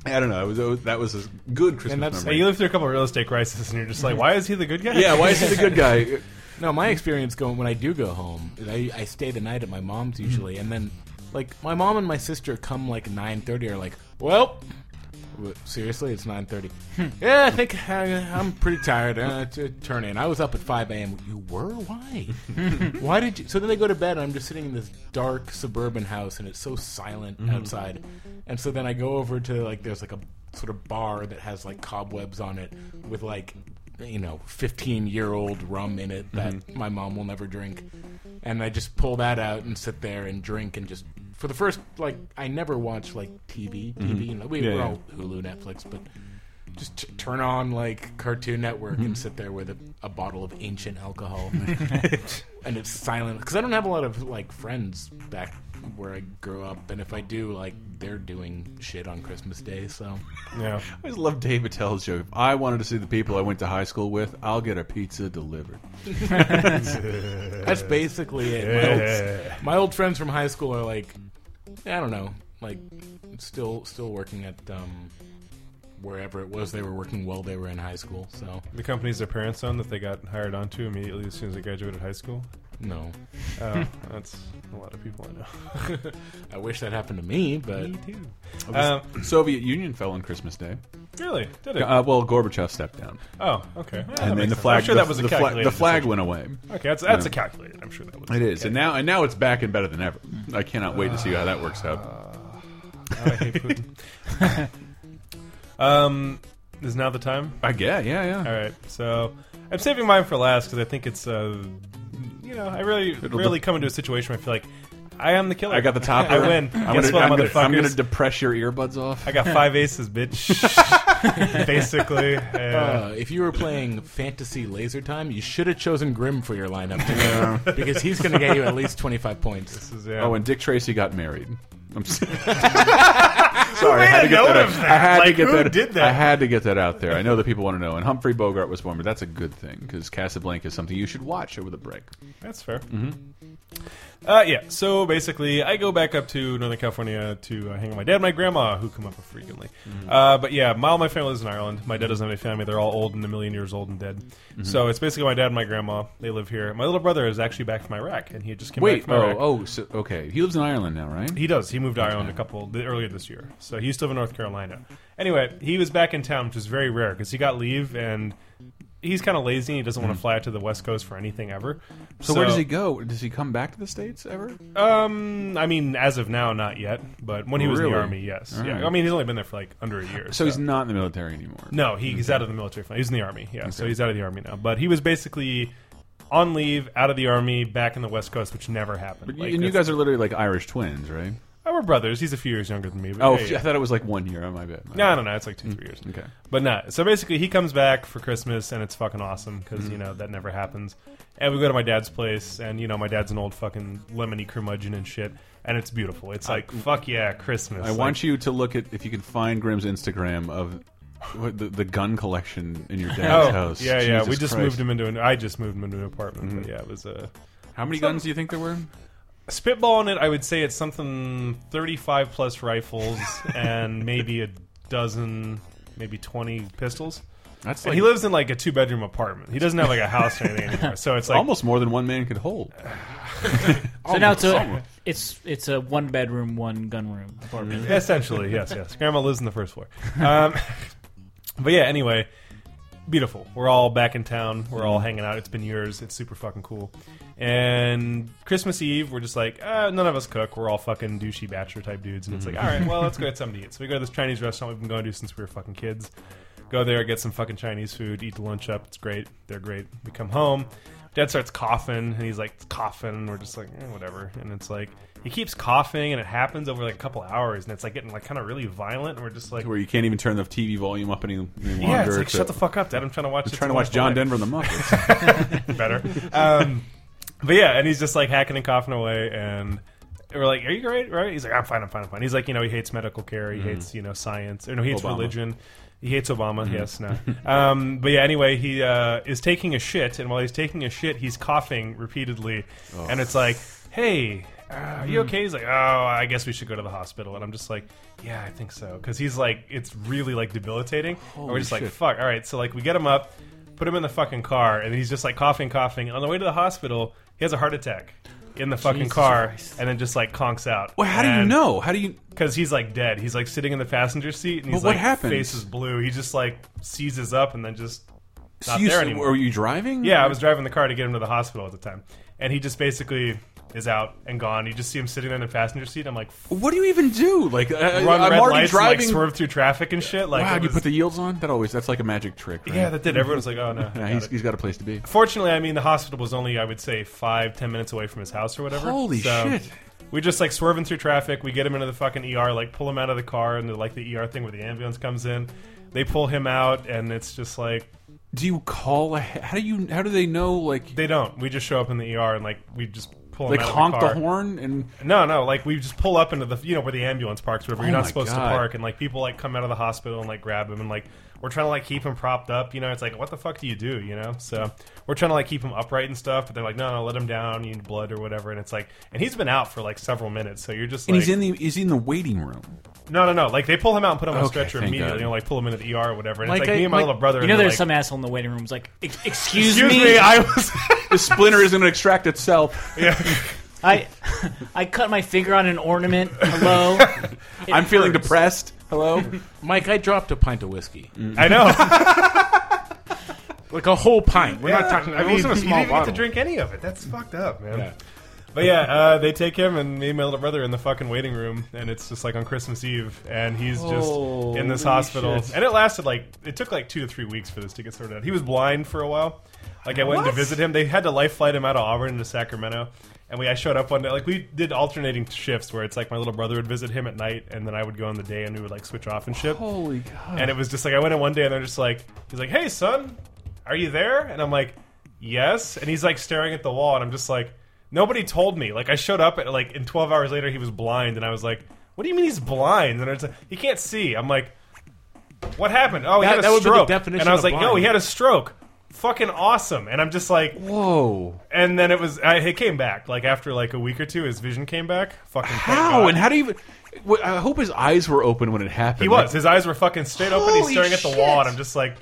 I don't know. It was, it was- that was a good Christmas
that's-
memory. Mm-hmm.
Hey, you live through a couple of real estate crises, and you're just like, why is he the good guy?
Yeah, why is he the good guy?
No, my experience going when I do go home, is I, I stay the night at my mom's usually, and then like my mom and my sister come like nine thirty are like, well, w- seriously, it's nine thirty. yeah, I think I, I'm pretty tired. Uh, to turn in. I was up at five a.m. You were? Why? <laughs> Why did you? So then they go to bed, and I'm just sitting in this dark suburban house, and it's so silent
Mm-hmm.
outside. And so then I go over to like there's like a sort of bar that has like cobwebs on it with like you know 15 year old rum in it that
Mm-hmm.
my mom will never drink and i just pull that out and sit there and drink and just for the first like i never watch like tv tv you know we
Mm-hmm. Yeah,
were
yeah.
all hulu netflix but just t- turn on like Cartoon Network
Mm-hmm.
and sit there with a, a bottle of
<laughs>
ancient alcohol, <laughs> and it's silent because I don't have a lot of like friends back where I grew up, and if I do, like they're doing shit on Christmas Day, so
<laughs> Yeah.
I just love Dave Attell's joke. If I wanted to see the people I went to high school with, I'll get a pizza
<clears throat>
delivered.
that's basically it. My, old, my old friends from high school are like, I don't know, like still still working at um, wherever it was they were working while they were in high school, so
The companies their parents own that they got hired onto immediately as soon as they graduated high school.
no,
Oh,
Hmm.
that's a lot of people I know.
<laughs>
I wish that happened to me, but
too. Um,
Soviet Union fell on Christmas Day.
really? Did it?
Uh, well, Gorbachev stepped down,
oh, okay. Yeah, that
and
makes
then the
sense.
flag.
I'm sure
the,
that was a
the flag,
calculated
the flag
decision.
went away.
Okay, that's that's a calculated. I'm sure that was.
It is, and now and now it's back and better than ever. I cannot wait to see how that works out.
I hate Putin. um, is now the time?
I get, yeah, yeah.
All right, so I'm saving mine for last because I think it's, uh, you know, I really, really come into a situation where I feel like I am the killer.
I got the top.
<laughs> I win.
I'm
Guess
gonna,
what,
I'm gonna, I'm
motherfuckers?
gonna depress your earbuds off.
I got five aces, bitch.
<laughs>
Basically, yeah.
Uh, if you were playing Fantasy Laser Time, you should have chosen Grim for your lineup too, because he's going to get you at least twenty five points.
This is, yeah.
Oh, and Dick Tracy got married. I'm
<laughs>
s- <laughs> sorry. I had to get
note
that. Out.
of
I had to
Like,
get
who
that.
did that?
I had to get that out there. I know that people want to know. And Humphrey Bogart was born, but that's a good thing because Casablanca is something you should watch over the break.
That's fair.
Mm-hmm.
Uh, yeah, so basically, I go back up to Northern California to uh, hang with my dad and my grandma, who come up frequently.
Mm-hmm.
Uh, but yeah, my, all my family lives in Ireland. My dad doesn't have any family. They're all old and a million years old and dead.
Mm-hmm.
So it's basically my dad and my grandma. They live here. My little brother is actually back from Iraq, and he just came back
Wait.
from
Oh.
Iraq.
Oh. So, okay. He lives in Ireland now, right?
He does. He moved to Ireland a couple th- earlier this year. So he used to live in North Carolina. Anyway, he was back in town, which is very rare because he got leave and he's kind of lazy. and He doesn't want to fly out to the West Coast for anything ever.
Mm-hmm. So, where does he go? Does he come back to the states ever?
Um, I mean, as of now, not yet. But when he was in the
Oh, Really?
army, yes.
All
yeah.
right.
I mean, he's only been there for like under a year.
So he's not in the military anymore.
no, he, he's out of the military. He's in the army. Yeah, so he's out of the army now. But he was basically on leave, out of the army, back in the West Coast, which never happened.
But you,
Like,
and you
that's-
guys are literally like Irish twins, right?
oh, we're brothers. He's a few years younger than me. But
Oh,
yeah, yeah.
I thought it was like one year. Oh, my bad. My
No,
bad.
no, no. It's like two, three years.
Okay.
But not. So basically, he comes back for Christmas, and it's fucking awesome because
Mm.
you know that never happens. And we go to my dad's place, and you know my dad's an old fucking lemony curmudgeon and shit, and it's beautiful. It's like fuck yeah, Christmas.
I
Like,
want you to look at if you can find Grimm's Instagram of what, the, the gun collection in your
<laughs>
dad's house.
Oh, Yeah, yeah. we
Jesus Christ.
just
Mm-hmm.
moved him into an. I just moved him into an apartment. But yeah, it was a
How many guns do you think there were?
spitball in it. I would say it's something thirty-five
<laughs>
plus rifles and maybe a dozen, maybe twenty pistols.
That's
And he lives in like a two-bedroom apartment. He doesn't have like a house or anything anymore. So
<laughs>
it's like
almost more than one man could hold.
So now it's a it's it's a one bedroom, one gun room apartment.
essentially yes, yes. Grandma lives in the
<laughs>
first floor. Um, but yeah, anyway, beautiful. We're all back in town. We're all hanging out. It's been years. It's super fucking cool. And Christmas Eve, we're just like, uh, none of us cook. We're all fucking douchey bachelor type dudes. And it's like, all right, well, let's go get something to eat. So we go to this Chinese restaurant we've been going to since we were fucking kids. Go there, get some fucking Chinese food, eat the lunch up. It's great. They're great. We come home. Dad starts coughing, and he's like coughing. We're just like eh, whatever, and it's like he keeps coughing, and it happens over like a couple hours, and it's like getting like kind of really violent. And we're just like,
Where you can't even turn the TV volume up any, any longer.
yeah, it's like
to-
shut the fuck up, Dad. I'm trying to
I'm
watch.
trying to watch John Denver and the
<laughs>
Muppets.
better.
<laughs>
Um, but yeah, and he's just like hacking and coughing away, and we're like, "Are you great? Right?" He's like, "I'm fine. I'm fine. I'm fine." He's like, you know, he hates medical care. He hates you know science. Or no, he hates
Mm-hmm. Obama.
religion. He hates Obama.
Mm.
Yes, no.
<laughs>
um, but yeah, anyway, he uh, is taking a shit, and while he's taking a shit, he's coughing repeatedly,
Oh.
and it's like, "Hey." Uh, are
Mm.
you okay? He's like, oh, I guess we should go to the hospital. And I'm just like, yeah, I think so, because he's like, it's really like debilitating. and we're just like, fuck. All right, so like, we get him up. But put him in the fucking car, and he's just like coughing, coughing. And on the way to the hospital, he has a heart attack in the fucking car, and then just like conks out.
Well, how do you know? How do you?
Because he's like dead. He's like sitting in the passenger seat, and
But
he's
what
like
happens?
face is blue. He just like seizes up, and then just
So
not
you,
there
s-
anymore.
were you driving?
Yeah, I was driving the car to get him to the hospital at the time, and he just basically is out and gone. You just see him sitting there in the passenger seat. I'm like, "F-
What do you even do? Like,
uh,
I,
run
I'm
red
already
lights, and,
driving.
like swerve through traffic and shit. Like,
wow,
it
Ah, you
was-
put the yields on? That always that's like a magic trick. Right?
<laughs> yeah, that did. Everyone's
<laughs>
like, oh no.
Yeah,
got
he's,
it.
he's got a place to be.
Fortunately, I mean, the hospital was only I would say five, ten minutes away from his house or whatever.
Holy
So,
shit.
We just like swerving through traffic. We get him into the fucking ER, like pull him out of the car, and like the ER thing where the ambulance comes in. They pull him out, and it's just like
Do you call? A, how do you? How do they know? Like,
they don't. We just show up in the ER, and like we just pull him
like
out
honk
of
the,
the car.
horn and
No, no, like we just pull up into the you know where the ambulance parks, wherever you're
Oh
not
my
supposed
God.
to park, and like people like come out of the hospital and like grab him and like we're trying to like keep him propped up, you know. It's like what the fuck do you do, you know? So we're trying to like keep him upright and stuff, but they're like, no, no, let him down. You need blood or whatever, and it's like, and he's been out for like several minutes, so you're just like,
and he's in the he's in the waiting room.
no, no, no, like they pull him out and put him on a
Okay,
stretcher
thank
immediately,
God.
you know, like pull him into the ER or whatever, and
Like
it's
I-
like me and my
like-
little brother.
You know,
and they're
there's
like,
some asshole in the waiting room who's like, "Ex-
<laughs>
"Excuse,
Excuse me,
<laughs>
I was.
The splinter isn't going to extract itself.
I, I cut my finger on an ornament. Hello, It
I'm feeling
hurts.
depressed. Hello.
Mike, I dropped a pint of whiskey,
I know.
like a whole pint. We're not talking.
I
it
mean,
wasn't a
you didn't
small
even
bottle.
get to drink any of it. That's fucked up, man.
Yeah.
But yeah, uh, they take him and me and my little brother in the fucking waiting room, and it's just like on Christmas Eve, and he's just in this hospital. And it lasted like it took like two to three weeks for this to get sorted out. He was blind for a while. Like I went to visit him. They had to life flight him out of Auburn to Sacramento, and we I showed up one day. Like we did alternating shifts where it's like my little brother would visit him at night, and then I would go in the day, and we would like switch off and shit.
Holy
Oh.
God.
And it was just like I went in one day and they're just like he's like, Hey son, are you there? And I'm like, Yes and he's like staring at the wall and I'm just like Nobody told me. Like I showed up at like and twelve hours later he was blind and I was like, What do you mean he's blind? And it's like he can't see. I'm like What happened? Oh he
That-
had a
that would be the
stroke.
definition
and I was
of
like, No,
blind.
he had a stroke. Fucking awesome. And I'm just like
Whoa.
and then it was I it came back. Like after like a week or two his vision came back. Fucking thank
How
God.
and how do you? even- Wait, I hope his eyes were open when it happened.
He
Like, <laughs>
was. His eyes were fucking straight open. He's
Holy
staring at the
shit.
wall, and I'm just like,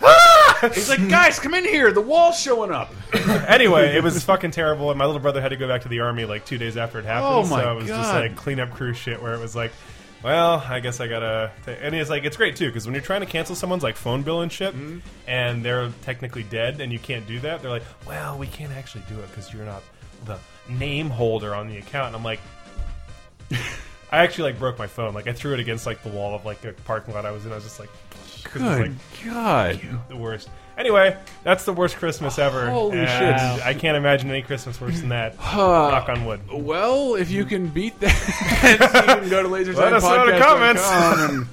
<laughs>
He's like, guys, come in here. The wall's showing up.
anyway, it was fucking terrible, and my little brother had to go back to the army like two days after it happened.
Oh my
so it was just
God.
like cleanup crew shit, where it was like, well, I guess I gotta. ta- And it's like it's great too because when you're trying to cancel someone's like phone bill and shit,
Mm-hmm.
and they're technically dead, and you can't do that, they're like, well, we can't actually do it because you're not the name holder on the account, and
<laughs>
I'm like. I actually like broke my phone. Like I threw it against like the wall of like a parking lot I was in. I was just like, 'cause it was, like
Good God.
the worst. Anyway, that's the worst Christmas ever.
Holy
and
shit. Oh,
I can't imagine any Christmas worse
<sighs>
than that. Knock on wood.
Well, if you can beat that, <laughs> you can go to lasertimepodcast.com
<laughs> Let us know in the comments. <laughs>
and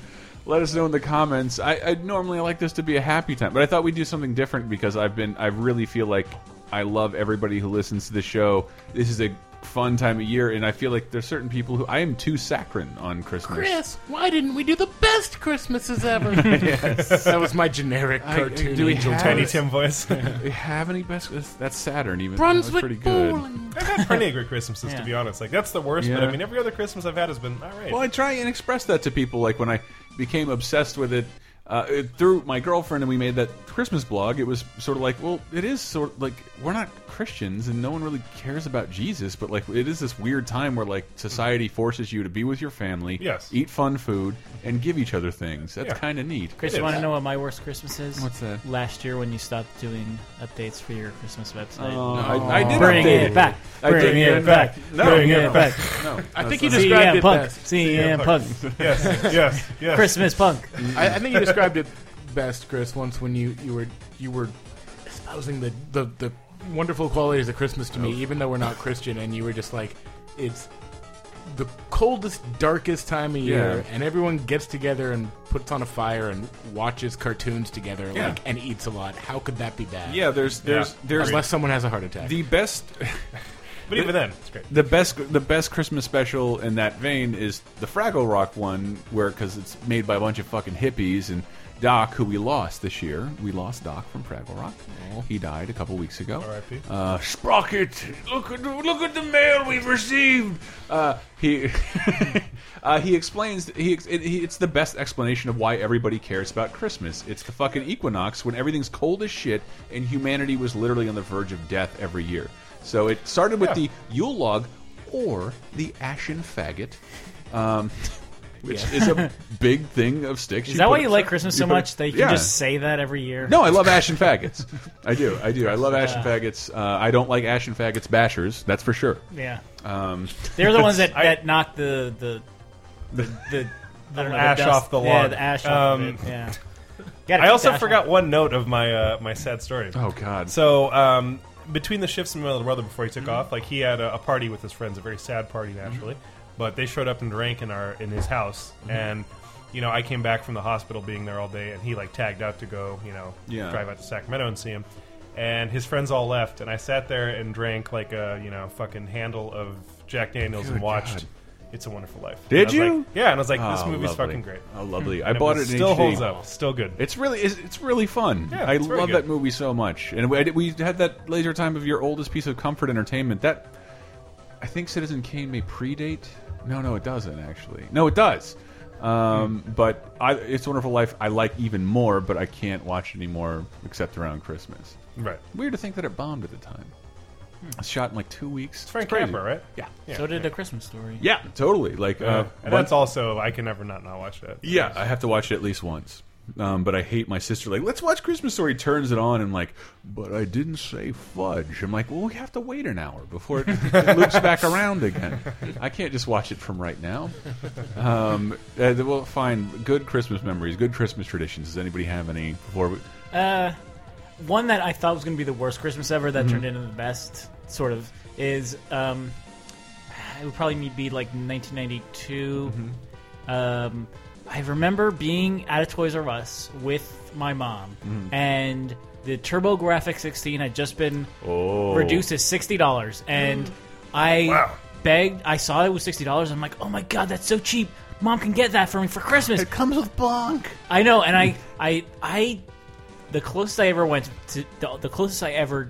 let us know in the comments. I, I normally like this to be a happy time, but I thought we'd do something different because I've been. I really feel like I love everybody who listens to the show. This is a fun time of year, and I feel like there's certain people who I am too saccharine on Christmas.
Chris, why didn't we do the best Christmases <laughs> ever? uh, That was my generic
I-
cartoon
do we
angel
have-
Tiny
tiny
<laughs>
Tim voice. <laughs> I've
Do you have any best? That's Saturn, even.
Brunswick
That's pretty good.
bowling.
had plenty of good Christmases to be honest. Like that's the worst, but
Yeah.
I mean every other Christmas I've had has been all right.
Well, I try and express that to people. Like when I became obsessed with it uh, it- through my girlfriend, and we made that Christmas blog. It was sort of like, well, it is sort of like we're not Christians, and no one really cares about Jesus. But like, it is this weird time where like society forces you to be with your family,
Yes.
eat fun food, and give each other things. That's
Yeah.
kind of neat.
Chris,
It
you want to
is.
know what my worst Christmas is?
What's that?
Last year when you stopped doing updates for your Christmas website.
I, Oh, I did
Bring
update
it back.
I
Bring
did
it back.
No,
Bring
no.
it back.
I think you described
CM
it
Punk.
best.
CM Punk.
yes,
<laughs>
yes, yes.
Christmas Punk.
I, I think you described it best, Chris. Once when you you were you were espousing the the, the wonderful qualities of Christmas to me, even though we're not Christian, and you were just like, it's the coldest, darkest time of year,
Yeah.
and everyone gets together and puts on a fire and watches cartoons together,
Yeah.
like and eats a lot. How could that be bad?
Yeah, there's there's
Yeah.
there's
Unless someone has a heart attack.
The best,
But even then, it's great.
the best the best Christmas special in that vein is the Fraggle Rock one, where because it's made by a bunch of fucking hippies and Doc, who we lost this year, we lost Doc from Fraggle Rock. He died a couple weeks ago.
R.I.P..
Uh, Sprocket, look at look at the mail we've received. Uh, he <laughs> uh, he explains he, ex- it, he it's the best explanation of why everybody cares about Christmas. It's the fucking equinox when everything's cold as shit and humanity was literally on the verge of death every year. So it started with the Yule log or the ashen faggot. Um, which is
<laughs>
a big thing of sticks.
Is that why
put-
you like Christmas so
put-
much that you can
Yeah.
just say that every year?
No, I love Ash and <laughs> Faggots. I do, I do. I love Ash and Faggots. Uh, I don't like Ash and Faggots bashers. That's for sure.
Yeah. They're the ones that, that knock the the the, the, I don't know,
ash
dust-
off the
Yeah,
log.
the ash off
Um,
of it. Yeah. Gotta
I
keep
also
the ash
forgot
off.
one note of my uh, my sad story.
Oh God.
So um, between the shifts in my little brother before he
Mm-hmm.
took off, like he had a, a party with his friends, a very sad party naturally. But they showed up in Rank in our in his house,
Mm-hmm.
and you know I came back from the hospital being there all day, and he like tagged out to go, you know,
Yeah.
drive out to Sacramento and see him. And his friends all left, and I sat there and drank like a you know fucking handle of Jack Daniels and watched. It's a Wonderful Life.
Did
And I was
you?
like- yeah, and I was like, this
Oh,
movie's
lovely.
fucking great.
Oh, lovely. I
And
bought
was-
it. In
still
HD.
holds up. Still good.
It's really it's, it's really fun.
Yeah,
I
it's very
love
good.
that movie so much. And we, we had that laser time of your oldest piece of comfort entertainment. That I think Citizen Kane may predate. No, no, it doesn't actually. No, it does. Um, But I, It's a Wonderful Life I like even more, but I can't watch it anymore except around Christmas.
right.
Weird to think that it bombed at the time. It's shot in like two weeks. Hmm. It's
Frank
crazy.
Capra, right?
Yeah.
So did a Christmas story.
Yeah, totally. Like, uh,
and
one-
that's also I can never not not watch that.
Yeah, I have to watch it at least once. Um, but I hate my sister. Like, let's watch Christmas Story. Turns it on and like, but I didn't say fudge. I'm like, well, we have to wait an hour before it, <laughs> it loops back around again. I can't just watch it from right now. Um, uh, we'll find good Christmas memories, good Christmas traditions. Does anybody have any? Before we,
One that I thought was going to be the worst Christmas ever that
Mm-hmm.
turned into the best, sort of, is um, it would probably be like 1992.
Mm-hmm.
Um, I remember being at a Toys R Us with my mom,
Mm-hmm.
and the Turbo Graphic 16 had just been
Oh.
reduced to sixty dollars, and
<gasps>
I begged. I saw it was sixty dollars. I'm like, oh my god, that's so cheap. Mom can get that for me for Christmas.
comes with Mm. bonk.
I know, and I, I, I, the closest I ever went to the, the closest I ever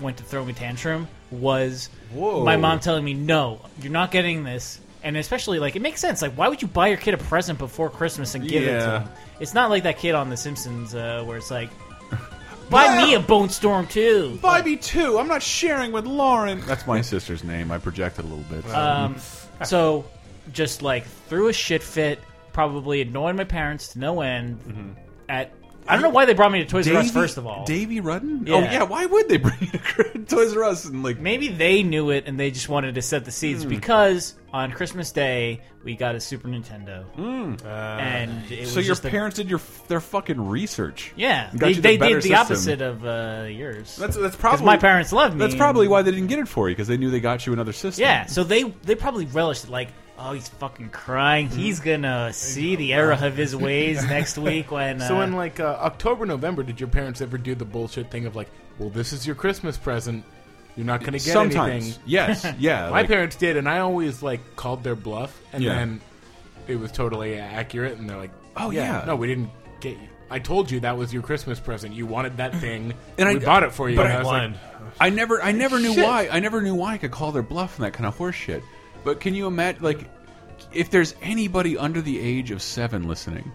went to throwing a tantrum was
Whoa.
my mom telling me, "No, you're not getting this." And especially, like, it makes sense. Like, why would you buy your kid a present before Christmas and give it
Yeah.
to him? It's not like that kid on The Simpsons uh, where
<laughs>
it's like, "Buy me a Bone Storm too."
Buy me two. I'm not sharing with Lauren. Uh, That's my sister's name. I projected a little bit. so-
Um, so, just like threw a shit fit, probably annoyed my parents to no end. At I don't know why they brought me to Toys R Us
Mm-hmm. Davy-
first of all.
Davy Rudden.
Yeah.
Oh yeah. Why would they bring <laughs> you to Toys R Us and like?
Maybe they knew it and they just wanted to set the seeds
Hmm.
because on Christmas Day we got a Super Nintendo, and it was
Hmm. So your
just the-
parents did your f- their fucking research.
yeah,
Got
they,
you the
they
better
did the
system.
opposite of uh, yours.
That's that's
'Cause
probably
my parents loved me.
That's probably why they didn't get it for you because they knew they got you another system.
Yeah, so they they probably relished it. Like, oh, he's fucking crying.
Hmm.
He's gonna see the error of his
<laughs>
ways next week when. Uh,
So in like uh, October, November, did your parents ever do the bullshit thing of like, well, this is your Christmas present, you're not going to get
Sometimes,
anything. <laughs>
yes, yeah.
My
like-
parents did, and I always like called their bluff, and
Yeah.
then it was totally accurate, and they're like,
Oh, yeah.
no, we didn't get you. I told you that was your Christmas present. You
<clears throat>
wanted that thing,
And
and
I-
we bought it for you."
But
and
I
was like,
blind.
I never, I never knew
Shit.
why. I never knew why I could call their bluff and that kind of horse shit. But can you imagine, like, if there's anybody under the age of seven
<laughs>
listening,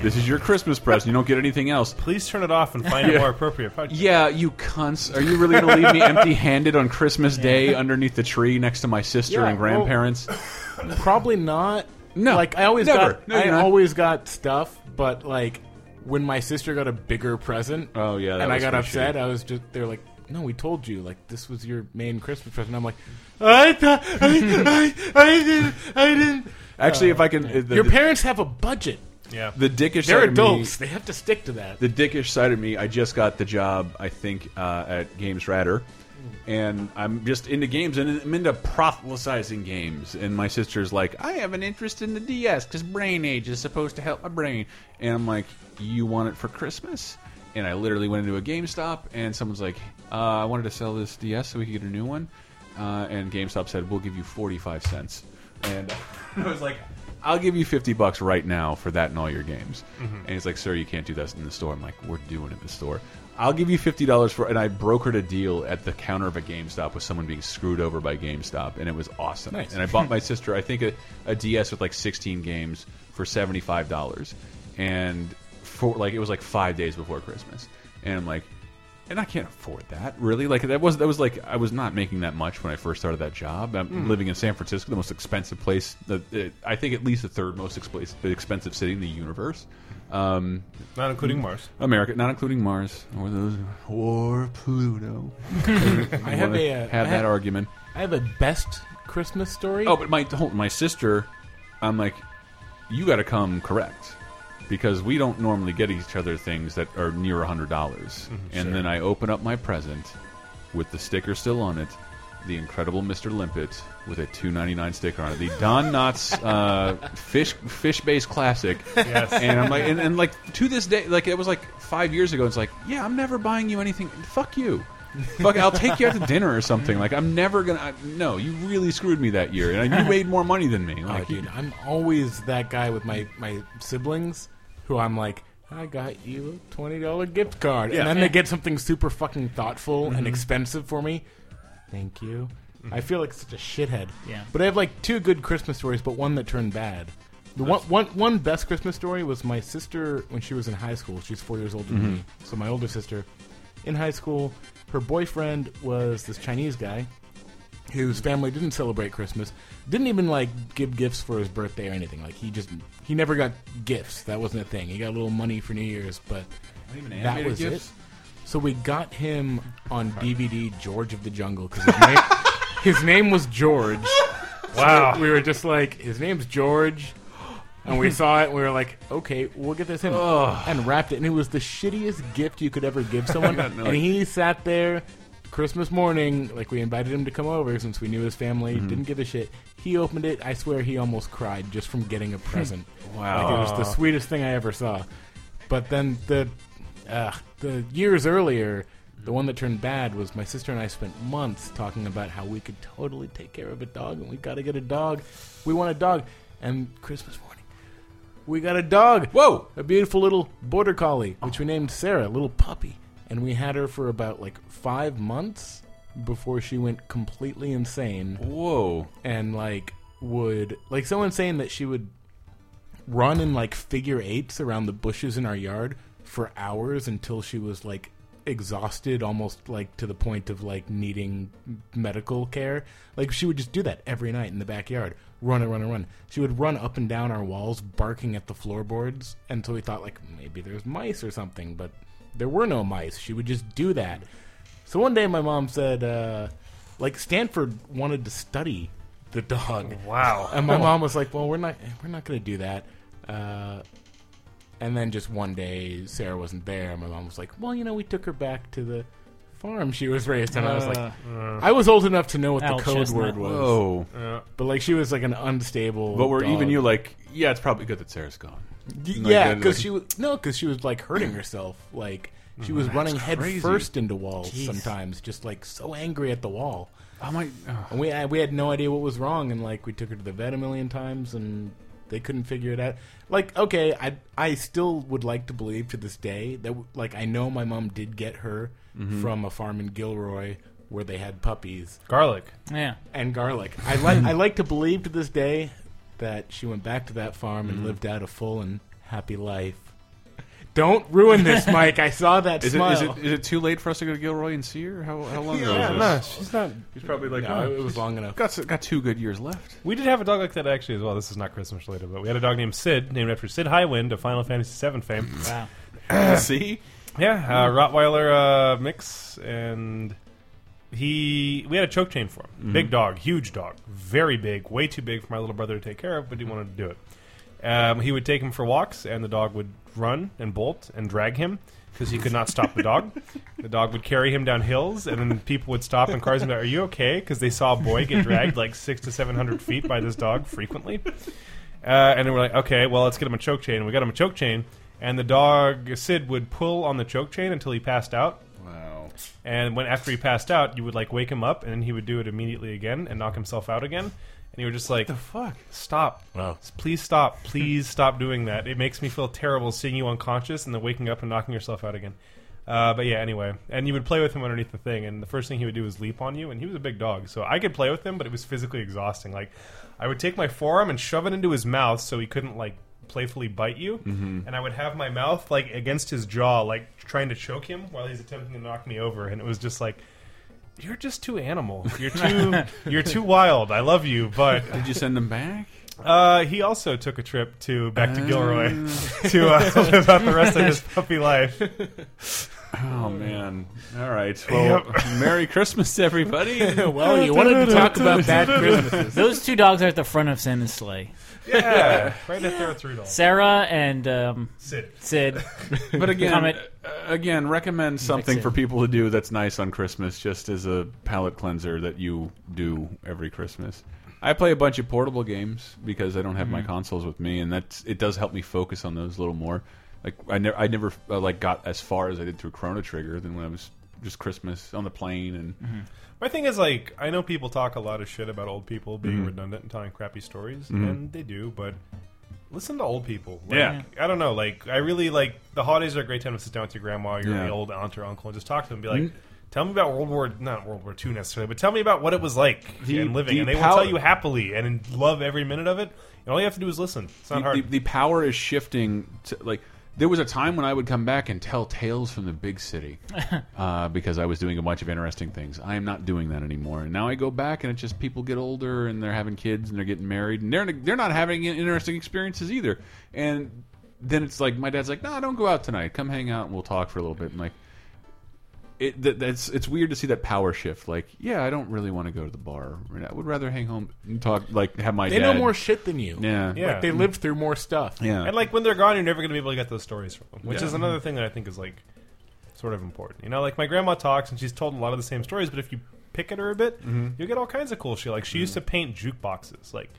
this is your Christmas present. You don't get anything else.
Please turn it off and find a more appropriate podcast.
Yeah, you cunts. Are you really going to leave
<laughs>
me empty-handed on Christmas Day underneath the tree next to my sister
Yeah,
and
well-
grandparents?
Probably not.
No,
like I always
never.
got,
No, you're
I
not.
always got stuff, but like when my sister got a bigger present,
Oh, yeah, that
and I
was
got
pretty
upset,
shitty.
I was just they're like, "No, we told you, like this was your main Christmas present." I'm like, "I thought, I, I, I didn't, I didn't."
Actually, if I
Uh,
can, <laughs> the,
Your
the-
parents have a budget;
Yeah.
the dickish
they're
side
adults.
of me,
They have to stick to that.
the dickish side of me, I just got the job, I think, uh, at Games Radar, and I'm just into games, and I'm into proselytizing games. And my sister's like, I have an interest in the DS because Brain Age is supposed to help my brain, and I'm like, you want it for Christmas? And I literally went into a GameStop, and someone's like, uh, I wanted to sell this DS so we could get a new one.
uh, and GameStop said we'll give you 45 cents. And I was like, I'll give you 50 bucks right now for that and all your games. And he's like, sir, you can't do that in the store. I'm like, we're doing it in the store. I'll give you $50 for and I brokered a deal at the counter of a GameStop with someone being screwed over by GameStop and it was awesome.
Nice.
And I bought my sister I think a, a DS with like 16 games for $75. And for like it was like 5 days before Christmas. And I'm like and I can't afford that really. Like that was that was like I was not making that much when I first started that job. I'm living in San Francisco, the most expensive place. The, the- I think at least the third most expla- expensive city in the universe. Um,
Not
Mm.
including Mars.
America, not including Mars or those or Pluto.
I have a uh,
have that
I have-
argument.
I have a best Christmas story.
Oh, but my hold- my sister, I'm like, you got to come correct because we don't normally get each other things that are near a hundred dollars.
Mm-hmm.
And then I open up my present with the sticker still on it, the Incredible Mr. Limpet with a two ninety nine sticker on it, the
<laughs>
Don Knotts uh, fish fish based classic.
Yes.
And I'm like, and, and like to this day, like it was like five years ago. It's like, yeah, I'm never buying you anything. Fuck you. Fuck, I'll take you out to dinner or something. Like I'm never gonna. I, no, you really screwed me that year,
<laughs>
and you made more money than me.
Oh,
Like,
dude, I'm always that guy with my my siblings who I'm like, I got you a twenty dollar gift card, and then they get something super fucking thoughtful and expensive for me. Thank you. I feel like such a shithead.
Yeah.
But I have like two good Christmas stories, but one that turned bad. The one, one, one best Christmas story was my sister when she was in high school. She's four years older than me, so my older sister. In high school, her boyfriend was this Chinese guy whose family didn't celebrate Christmas, didn't even like give gifts for his birthday or anything. Like he just he never got gifts. That wasn't a thing. He got a little money for New Year's, but that
animated
was
gifts?
it. So we got him on DVD George of the Jungle because his, name- <laughs> his name was George.
Wow.
We were just like his name's George. And we saw it, and we were like, "Okay, we'll get this in," and wrapped it. And it was the shittiest gift you could ever give someone. and he sat there Christmas morning, like we invited him to come over since we knew his family didn't give a shit. He opened it. I swear, he almost cried just from getting a present. wow, like, it was the sweetest thing I ever saw. But then the uh, the years earlier, the one that turned bad was my sister and I spent months talking about how we could totally take care of a dog, and we got to get a dog. We want a dog, and Christmas morning. We got a dog.
Whoa!
A beautiful little border collie, which we named Sarah, a little puppy. And we had her for about like five months before she went completely insane
whoa,
and like would like so insane that she would run in like figure eights around the bushes in our yard for hours until she was like exhausted almost like to the point of like needing medical care like she would just do that every night in the backyard run and run and run she would run up and down our walls barking at the floorboards until we thought like maybe there's mice or something but there were no mice she would just do that so one day my mom said uh like stanford wanted to study the dog
Wow.
and
Oh.
my mom was like, "Well, we're not we're not going to do that." Uh, and then just one day, Sarah wasn't there. My mom was like, "Well, you know, we took her back to the farm she was raised." And I was like,
Uh,
"I was old enough to know what the
Al
code
Chestnut.
word was,
whoa!
but like she was like an unstable."
But were
dog.
even you like, yeah, it's probably good that Sarah's gone.
Y-
like
yeah,
that,
because
like-
she was no, because she was like hurting herself. Like
Mm,
she was running head first into walls sometimes, just like so angry at the wall.
I might. oh.
And we I- we had no idea what was wrong, and like we took her to the vet a million times, and they couldn't figure it out. Like, okay, I I still would like to believe to this day that w- like I know my mom did get her from a farm in Gilroy where they had puppies
Garlic.
yeah.
and garlic. I like I like to believe to this day that she went back to that farm and lived out a full and happy life. Don't ruin this, Mike. I saw that
Is it,
smile.
is it is it too late for us to go to Gilroy and see her? How how long ago was
no,
this?
she's not.
He's probably like,
no,
oh,
it was long enough.
got got two good years left.
We did have a dog like that actually as well. This is not Christmas related, but we had a dog named Sid, named after Sid Highwind of Final Fantasy VII fame.
<laughs>
Wow.
see,
Yeah, uh, Rottweiler uh, mix, and he we had a choke chain for him. Big dog, huge dog, very big, way too big for my little brother to take care of, but he wanted to do it. Um, he would take him for walks, and the dog would run and bolt and drag him because he could not stop the dog. The dog would carry him down hills, and then people would stop and cars and be like, "Are you okay?" Because they saw a boy get dragged like six to seven hundred feet by this dog frequently. Uh, and then we're like, okay, well, let's get him a choke chain. And we got him a choke chain, and the dog Sid would pull on the choke chain until he passed out.
wow.
And when after he passed out, you would like wake him up, and then he would do it immediately again and knock himself out again. And you were just like, "The fuck, stop!
Wow.
Please stop! Please stop doing that. It makes me feel terrible seeing you unconscious and then waking up and knocking yourself out again." Uh, but yeah, anyway, and you would play with him underneath the thing, and the first thing he would do is leap on you, and he was a big dog, so I could play with him, but it was physically exhausting. Like, I would take my forearm and shove it into his mouth so he couldn't like playfully bite you, and I would have my mouth like against his jaw, like trying to choke him while he's attempting to knock me over, and it was just like. You're just too animal. You're too. you're too wild. I love you, but
Did you send him
<laughs>
back?
uh, he also took a trip to back to Gilroy <laughs> to uh, live out the rest of his puppy life.
Oh man! All right. Well, Merry Christmas, to everybody.
<laughs> well, you wanted to <laughs>
<laughs>
talk about bad Christmases.
Those two dogs are at the front of Santa's sleigh.
Yeah, right at there with Rudolph.
Sarah and um,
Sid.
<laughs>
Sid.
But again,
Comment.
uh, again, recommend something
it.
for people to do that's nice on Christmas, just as a palate cleanser that you do every Christmas. I play a bunch of portable games because I don't have my consoles with me, and that's it does help me focus on those a little more. Like I never, I never uh, like got as far as I did through Chrono Trigger than when I was just Christmas on the plane and
My thing is like I know people talk a lot of shit about old people being
Mm-hmm.
redundant and telling crappy stories, and they do, but listen to old people. Like,
Yeah.
I don't know. Like I really like the holidays are a great time to sit down with your grandma, your
Yeah. Mm-hmm.
old aunt or uncle, and just talk to them. And be like. Tell me about World War, not World War II necessarily, but tell me about what it was like
The-
and living.
the
And they will
pow-
tell you happily and in- love every minute of it. And all you have to do is listen. It's not
the,
hard.
the- the power is shifting. To, like there was a time when I would come back and tell tales from the big <laughs> city uh, because I was doing a bunch of interesting things. I am not doing that anymore. And now I go back and it's just people get older and they're having kids and they're getting married and they're they're not having interesting experiences either. And then it's like my dad's like, "No, don't go out tonight. Come hang out and we'll talk for a little bit." And like. It, that, that's it's weird to see that power shift. Like, yeah, I don't really want to go to the bar. I would rather hang home and talk. Like, have my
They
dad.
know more shit than you.
Yeah,
Yeah.
Like, they lived through more stuff.
yeah.
And like when they're gone, you're never going to be able to get those stories from them, which is another thing that I think is like sort of important. You know, like my grandma talks and she's told a lot of the same stories, but if you pick at her a bit,
Mm-hmm.
you'll get all kinds of cool shit. Like she used to paint jukeboxes. Like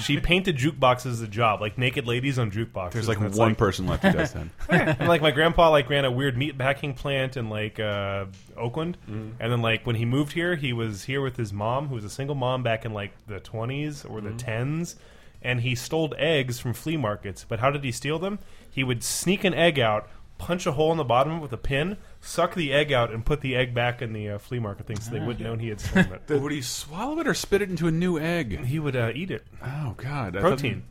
she painted jukeboxes as a job, like naked ladies on jukeboxes.
There's like
and it's
one person left who does that.
and like my grandpa like ran a weird meat packing plant in like uh, Oakland,
Mm-hmm.
and then like when he moved here, he was here with his mom, who was a single mom back in like the twenties or the
Mm-hmm.
tens, and he stole eggs from flea markets. But how did he steal them? He would sneak an egg out, punch a hole in the bottom of it with a pin, suck the egg out, and put the egg back in the uh, flea market thing, so
Ah.
they wouldn't know he had
<laughs>
stolen it.
<laughs> Would he swallow it or spit it into a new egg?
He would uh, eat it.
Oh God, I thought-
Protein.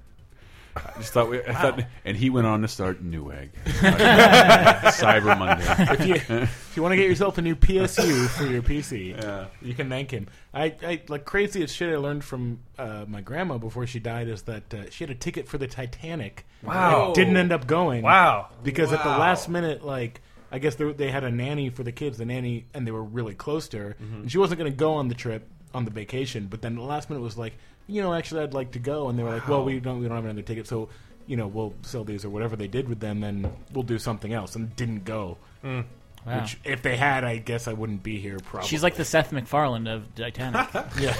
I just thought, we, I thought, and he went on to start new <laughs> egg. Cyber Monday.
if you if you want to get yourself a new PSU for your PC, you can thank him. I, I like craziest shit I learned from uh, my grandma before she died is that uh, she had a ticket for the Titanic.
Wow.
and didn't end up going.
Wow.
because at the last minute, like. I guess they, they had a nanny for the kids, the nanny, and they were really close to her. And she wasn't going to go on the trip, on the vacation, but then the last minute was like, you know, actually, I'd like to go. And they were like, well, we don't, we don't have another ticket, so, you know, we'll sell these or whatever they did with them, and we'll do something else. And didn't go.
Wow.
Which, if they had, I guess I wouldn't be here. Probably.
Oh. She's like the Seth MacFarlane of Titanic.
yeah.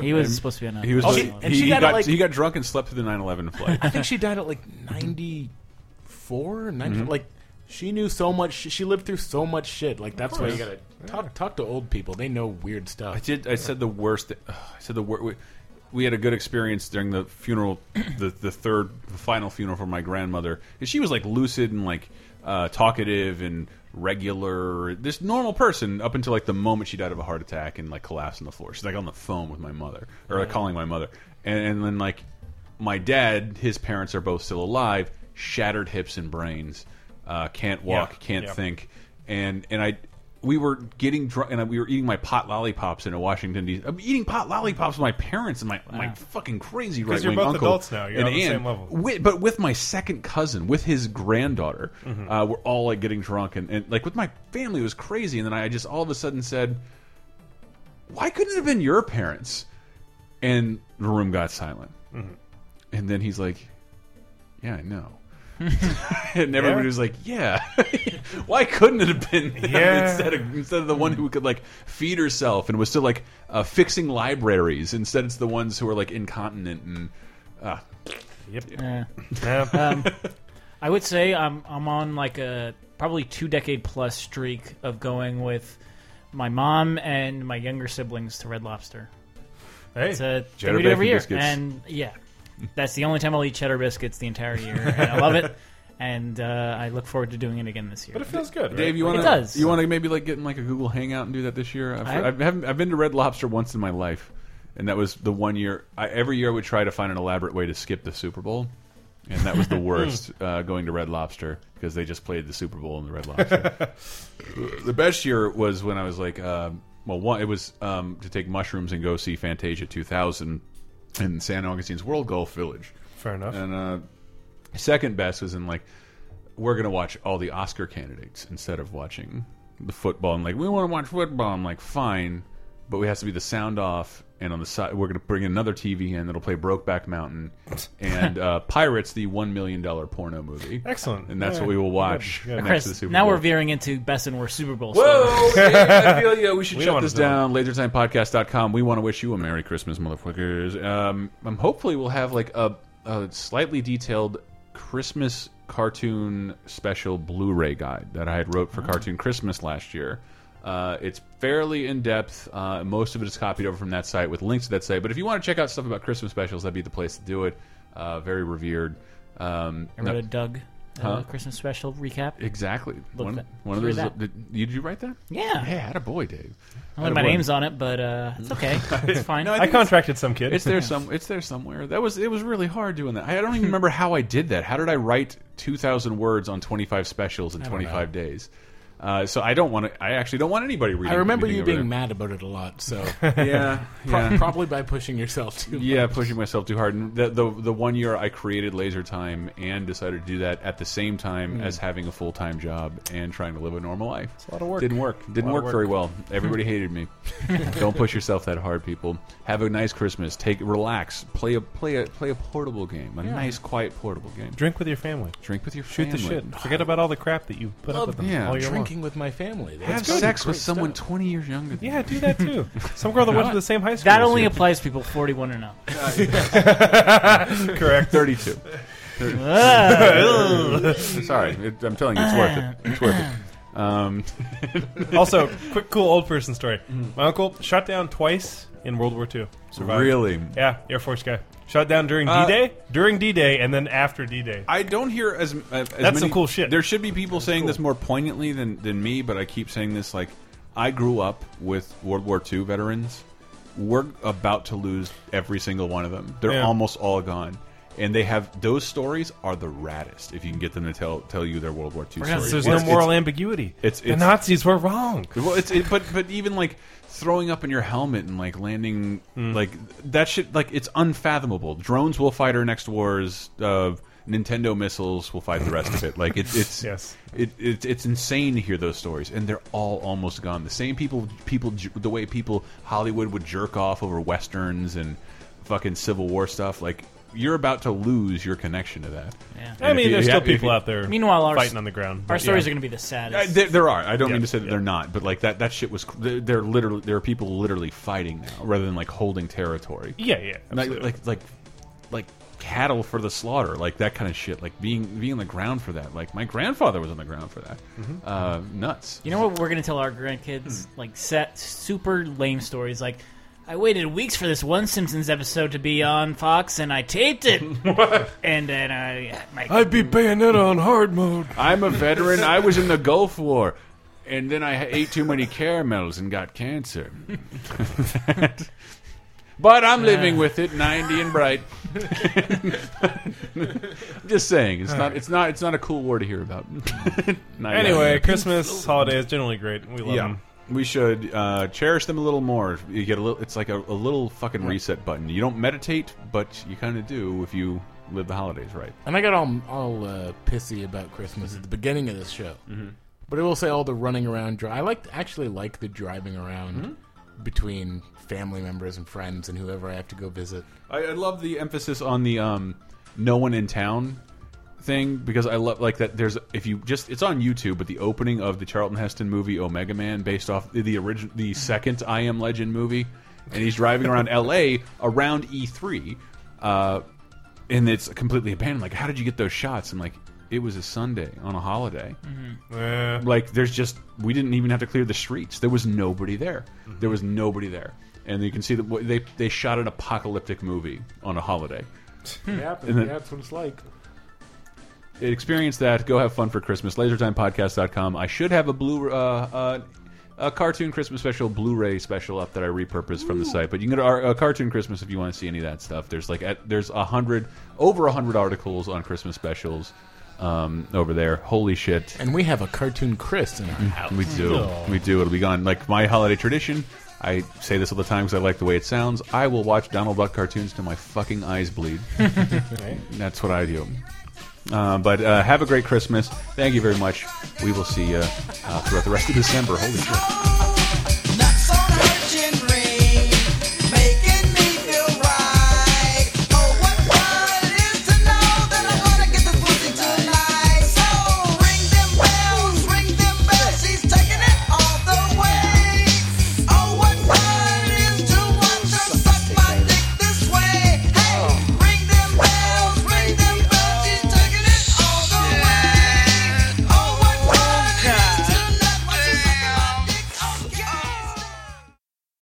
He was supposed to be on. a-
He was.
Oh,
he,
she- and
he
she got it,
got,
like-
he got drunk and slept through the 9/11 flight.
I think she died at like 94, 90, Like she knew so much. sh- She lived through so much shit. Like that's why you gotta talk talk to old people. They know weird
I
stuff.
did. I said the worst. th- ugh, I said the worst. We, we had a good experience during the funeral, the the third, the final funeral for my grandmother. And she was like lucid and like uh, talkative and regular, this normal person up until like the moment she died of a heart attack and like collapsed on the floor. She's like on the phone with my mother or like, calling my mother, and, and then like my dad, his parents are both still alive, shattered hips and brains, uh, can't walk,
Yeah.
can't
Yeah.
think, and and I. We were getting drunk, and we were eating my pot lollipops in Washington D.C. I'm eating pot lollipops with my parents and my my fucking crazy right
you're
wing
both
uncle.
adults now. You're
and
on the
aunt,
same level.
wi- but with my second cousin, with his granddaughter,
Mm-hmm.
uh, we're all like getting drunk, and, and like with my family, it was crazy. And then I just all of a sudden said, "Why couldn't it have been your parents?" And the room got silent.
Mm-hmm.
And then he's like, "Yeah, I
<laughs>
know." and everybody
Yeah?
was like, "Yeah, <laughs> why couldn't it have been them
Yeah.
instead of instead of the one who could like feed herself and was still like uh, fixing libraries? Instead, it's the ones who are like incontinent and uh,
Yep.
Yeah.
Yeah.
Um,
<laughs>
I would say I'm I'm on like a probably two decade plus streak of going with my mom and my younger siblings to Red Lobster.
Hey,
It's a
Cheddar
thing we do
bacon
every year,
biscuits.
and yeah, that's the only time I'll eat cheddar biscuits the entire year. And I
<laughs>
love it, and uh, I look forward to doing it again this year.
but it feels good. Right?
Dave, you
It
want
does.
to you want to maybe like get in like a Google Hangout and do that this year? I've, I,
I-
have i have I've been to Red Lobster once in my life, and that was the one year. I, every year I would try to find an elaborate way to skip the Super Bowl, and that was the worst. uh, going to Red Lobster because they just played the Super Bowl in the Red Lobster. the best year was when I was like, um, well, one it was um, to take mushrooms and go see Fantasia 2000 in San Augustine's World Golf Village.
Fair enough.
And uh, second best was in like we're gonna watch all the Oscar candidates instead of watching the football. And like we want to watch football. I'm like fine, but we has to be the sound off. And on the side, we're gonna bring another TV in that'll play Brokeback Mountain
<laughs>
and uh, Pirates, the one million dollar porno movie.
Excellent.
And that's
All
what
right.
we will watch
Good.
next
Chris,
to the Super
now
Bowl.
we're veering into best and worst Super Bowl. stories.
Whoa, Dave, I feel you. We should
We don't
shut
wanna
this
know.
down. LaserTimePodcast.com. We want to wish you a Merry Christmas, motherfuckers. Um, um, hopefully, we'll have like a, a slightly detailed Christmas cartoon special Blu-ray guide that I had wrote for Cartoon Christmas last year. Uh, it's fairly in depth. Uh, most of it is copied over from that site with links to that site. But if you want to check out stuff about Christmas specials, that'd be the place to do it. Uh, very revered. Um,
I wrote
no-
a Doug uh, Christmas special recap.
exactly.
Look
one
that-
one of
through
those.
that.
Did, did you write that?
Yeah.
Yeah, had a boy, Dave.
Only
Attaboy.
my name's on it, but uh, it's okay. It's fine.
I contracted some kid.
<laughs>
It's there some. It's there somewhere. That was. It was really hard doing that. I don't even remember how I did that. How did I write two thousand words on twenty five specials in twenty five days? Uh, so I don't want to. I actually don't want anybody reading.
I remember
anything
you
over
being mad about it a lot, <laughs> so
there. <laughs> Yeah, yeah,
probably by pushing yourself too.
yeah. Pushing myself too hard. And the, the the one year I created Laser Time and decided to do that at the same time as having a full time job and trying to live a normal life. Hmm. It's a lot of work. Didn't work. Didn't
lot
work,
of
very well. <laughs> Everybody hated me. don't push yourself that hard, people. Have a nice Christmas. Take relax. Play a play a play a portable game. A nice quiet portable game.
Drink with your family.
Drink with your
Shoot
family.
the shit. Forget about all the crap that you put up with them
yeah,
all year
Drinking with my family.
Have
That's good.
sex with
Great
someone
stuff.
20 years younger than
long. Yeah, do that too. Some girl that went to the same high school.
that
as
only
you.
applies to people 41 and up.
correct.
32. Sorry, it, I'm telling you, it's worth it. It's worth it. Um,
also, quick, cool old person story.
Mm-hmm.
My uncle shot down twice in World War II. Survived.
really,
Yeah, Air Force guy. Shot down during
Uh,
D Day, during D Day, and then after D Day.
I don't hear as, uh, as that's
some cool shit.
There should be people saying this more poignantly than than me, but I keep saying this. Like, I grew up with World War II veterans. We're about to lose every single one of them. They're
Yeah.
almost all gone, and they have those stories are the raddest. If you can get them to tell tell you their World War II
gonna-
story, It's-
There's no
it's-
moral ambiguity.
it's-
the
it's-
Nazis were wrong.
Well, it's it, but but even like throwing up in your helmet and like landing like that shit like it's unfathomable. Drones will fight our next wars. Uh, Nintendo missiles will fight the rest of it. Like it's it's
Yes.
it, it, it's insane to hear those stories, and they're all almost gone. The same people people j- the way people Hollywood would jerk off over westerns and fucking Civil War stuff. Like you're about to lose your connection to that.
Yeah.
I
And if
mean,
you-
there's
yeah,
still
if you-
people out there.
Meanwhile, our-
fighting on the ground.
Our
but
stories
yeah.
are going to be the
Uh,
saddest.
there, there are. I don't
Yeah,
mean to say that
yeah.
they're not, but like that that shit was. They're, they're literally there are people literally fighting now rather than like holding territory.
Yeah, yeah.
Like,
absolutely.
like like like cattle for the slaughter, like that kind of shit. Like being being on the ground for that. Like my grandfather was on the ground for that. Uh, nuts.
You know what we're gonna tell our grandkids? Like set super lame stories. Like, I waited weeks for this one Simpsons episode to be on Fox, and I taped it. and then I, my,
I'd be Bayonetta on hard mode.
<laughs> I'm a veteran. I was in the Gulf War, and then I ate too many caramels and got cancer. <laughs> but I'm living with it, ninety and bright. <laughs> I'm just saying, it's not, it's not, it's not a cool war to hear about. <laughs> Not yet.
Anyway, Christmas holiday is generally great. We love
yeah.
them.
We should uh, cherish them a little more. You get a little. It's like a, a little fucking reset button. You don't meditate, but you kind of do if you live the holidays right.
And I got all all uh, pissy about Christmas at the beginning of this show, but I will say all the running around. Dri- I like actually like the driving around between family members and friends and whoever I have to go visit.
I, I love the emphasis on the um, no one in town thing because I love like that. There's if you just it's on YouTube, but the opening of the Charlton Heston movie Omega Man, based off the, the original the second I Am Legend movie, and he's driving around <laughs> L.A. E around E3, uh, and it's completely abandoned. Like, how did you get those shots? And like. It was a Sunday on a holiday.
Eh.
Like there's just we didn't even have to clear the streets. There was nobody there.
Mm-hmm.
There was nobody there. And you can see that wh- they they shot an apocalyptic movie on a holiday.
<laughs> It happens.
And then-
yeah, that's what it's like.
Experience that. Go have fun for Christmas. LaserTimePodcast.com. I should have a blue uh, uh, a cartoon Christmas special, Blu-ray special up that I repurposed from the site. But you can go to our uh, cartoon Christmas if you want to see any of that stuff. There's like at, there's a hundred over a hundred articles on Christmas specials um, over there. Holy shit!
And we have a cartoon Chris in our house.
We do. We do. It'll be gone. Like my holiday tradition, I say this all the time because I like the way it sounds. I will watch Donald Duck cartoons till my fucking eyes bleed. <laughs> That's what I do. Uh, but uh, have a great Christmas. Thank you very much. We will see you uh, throughout the rest of December. Holy shit.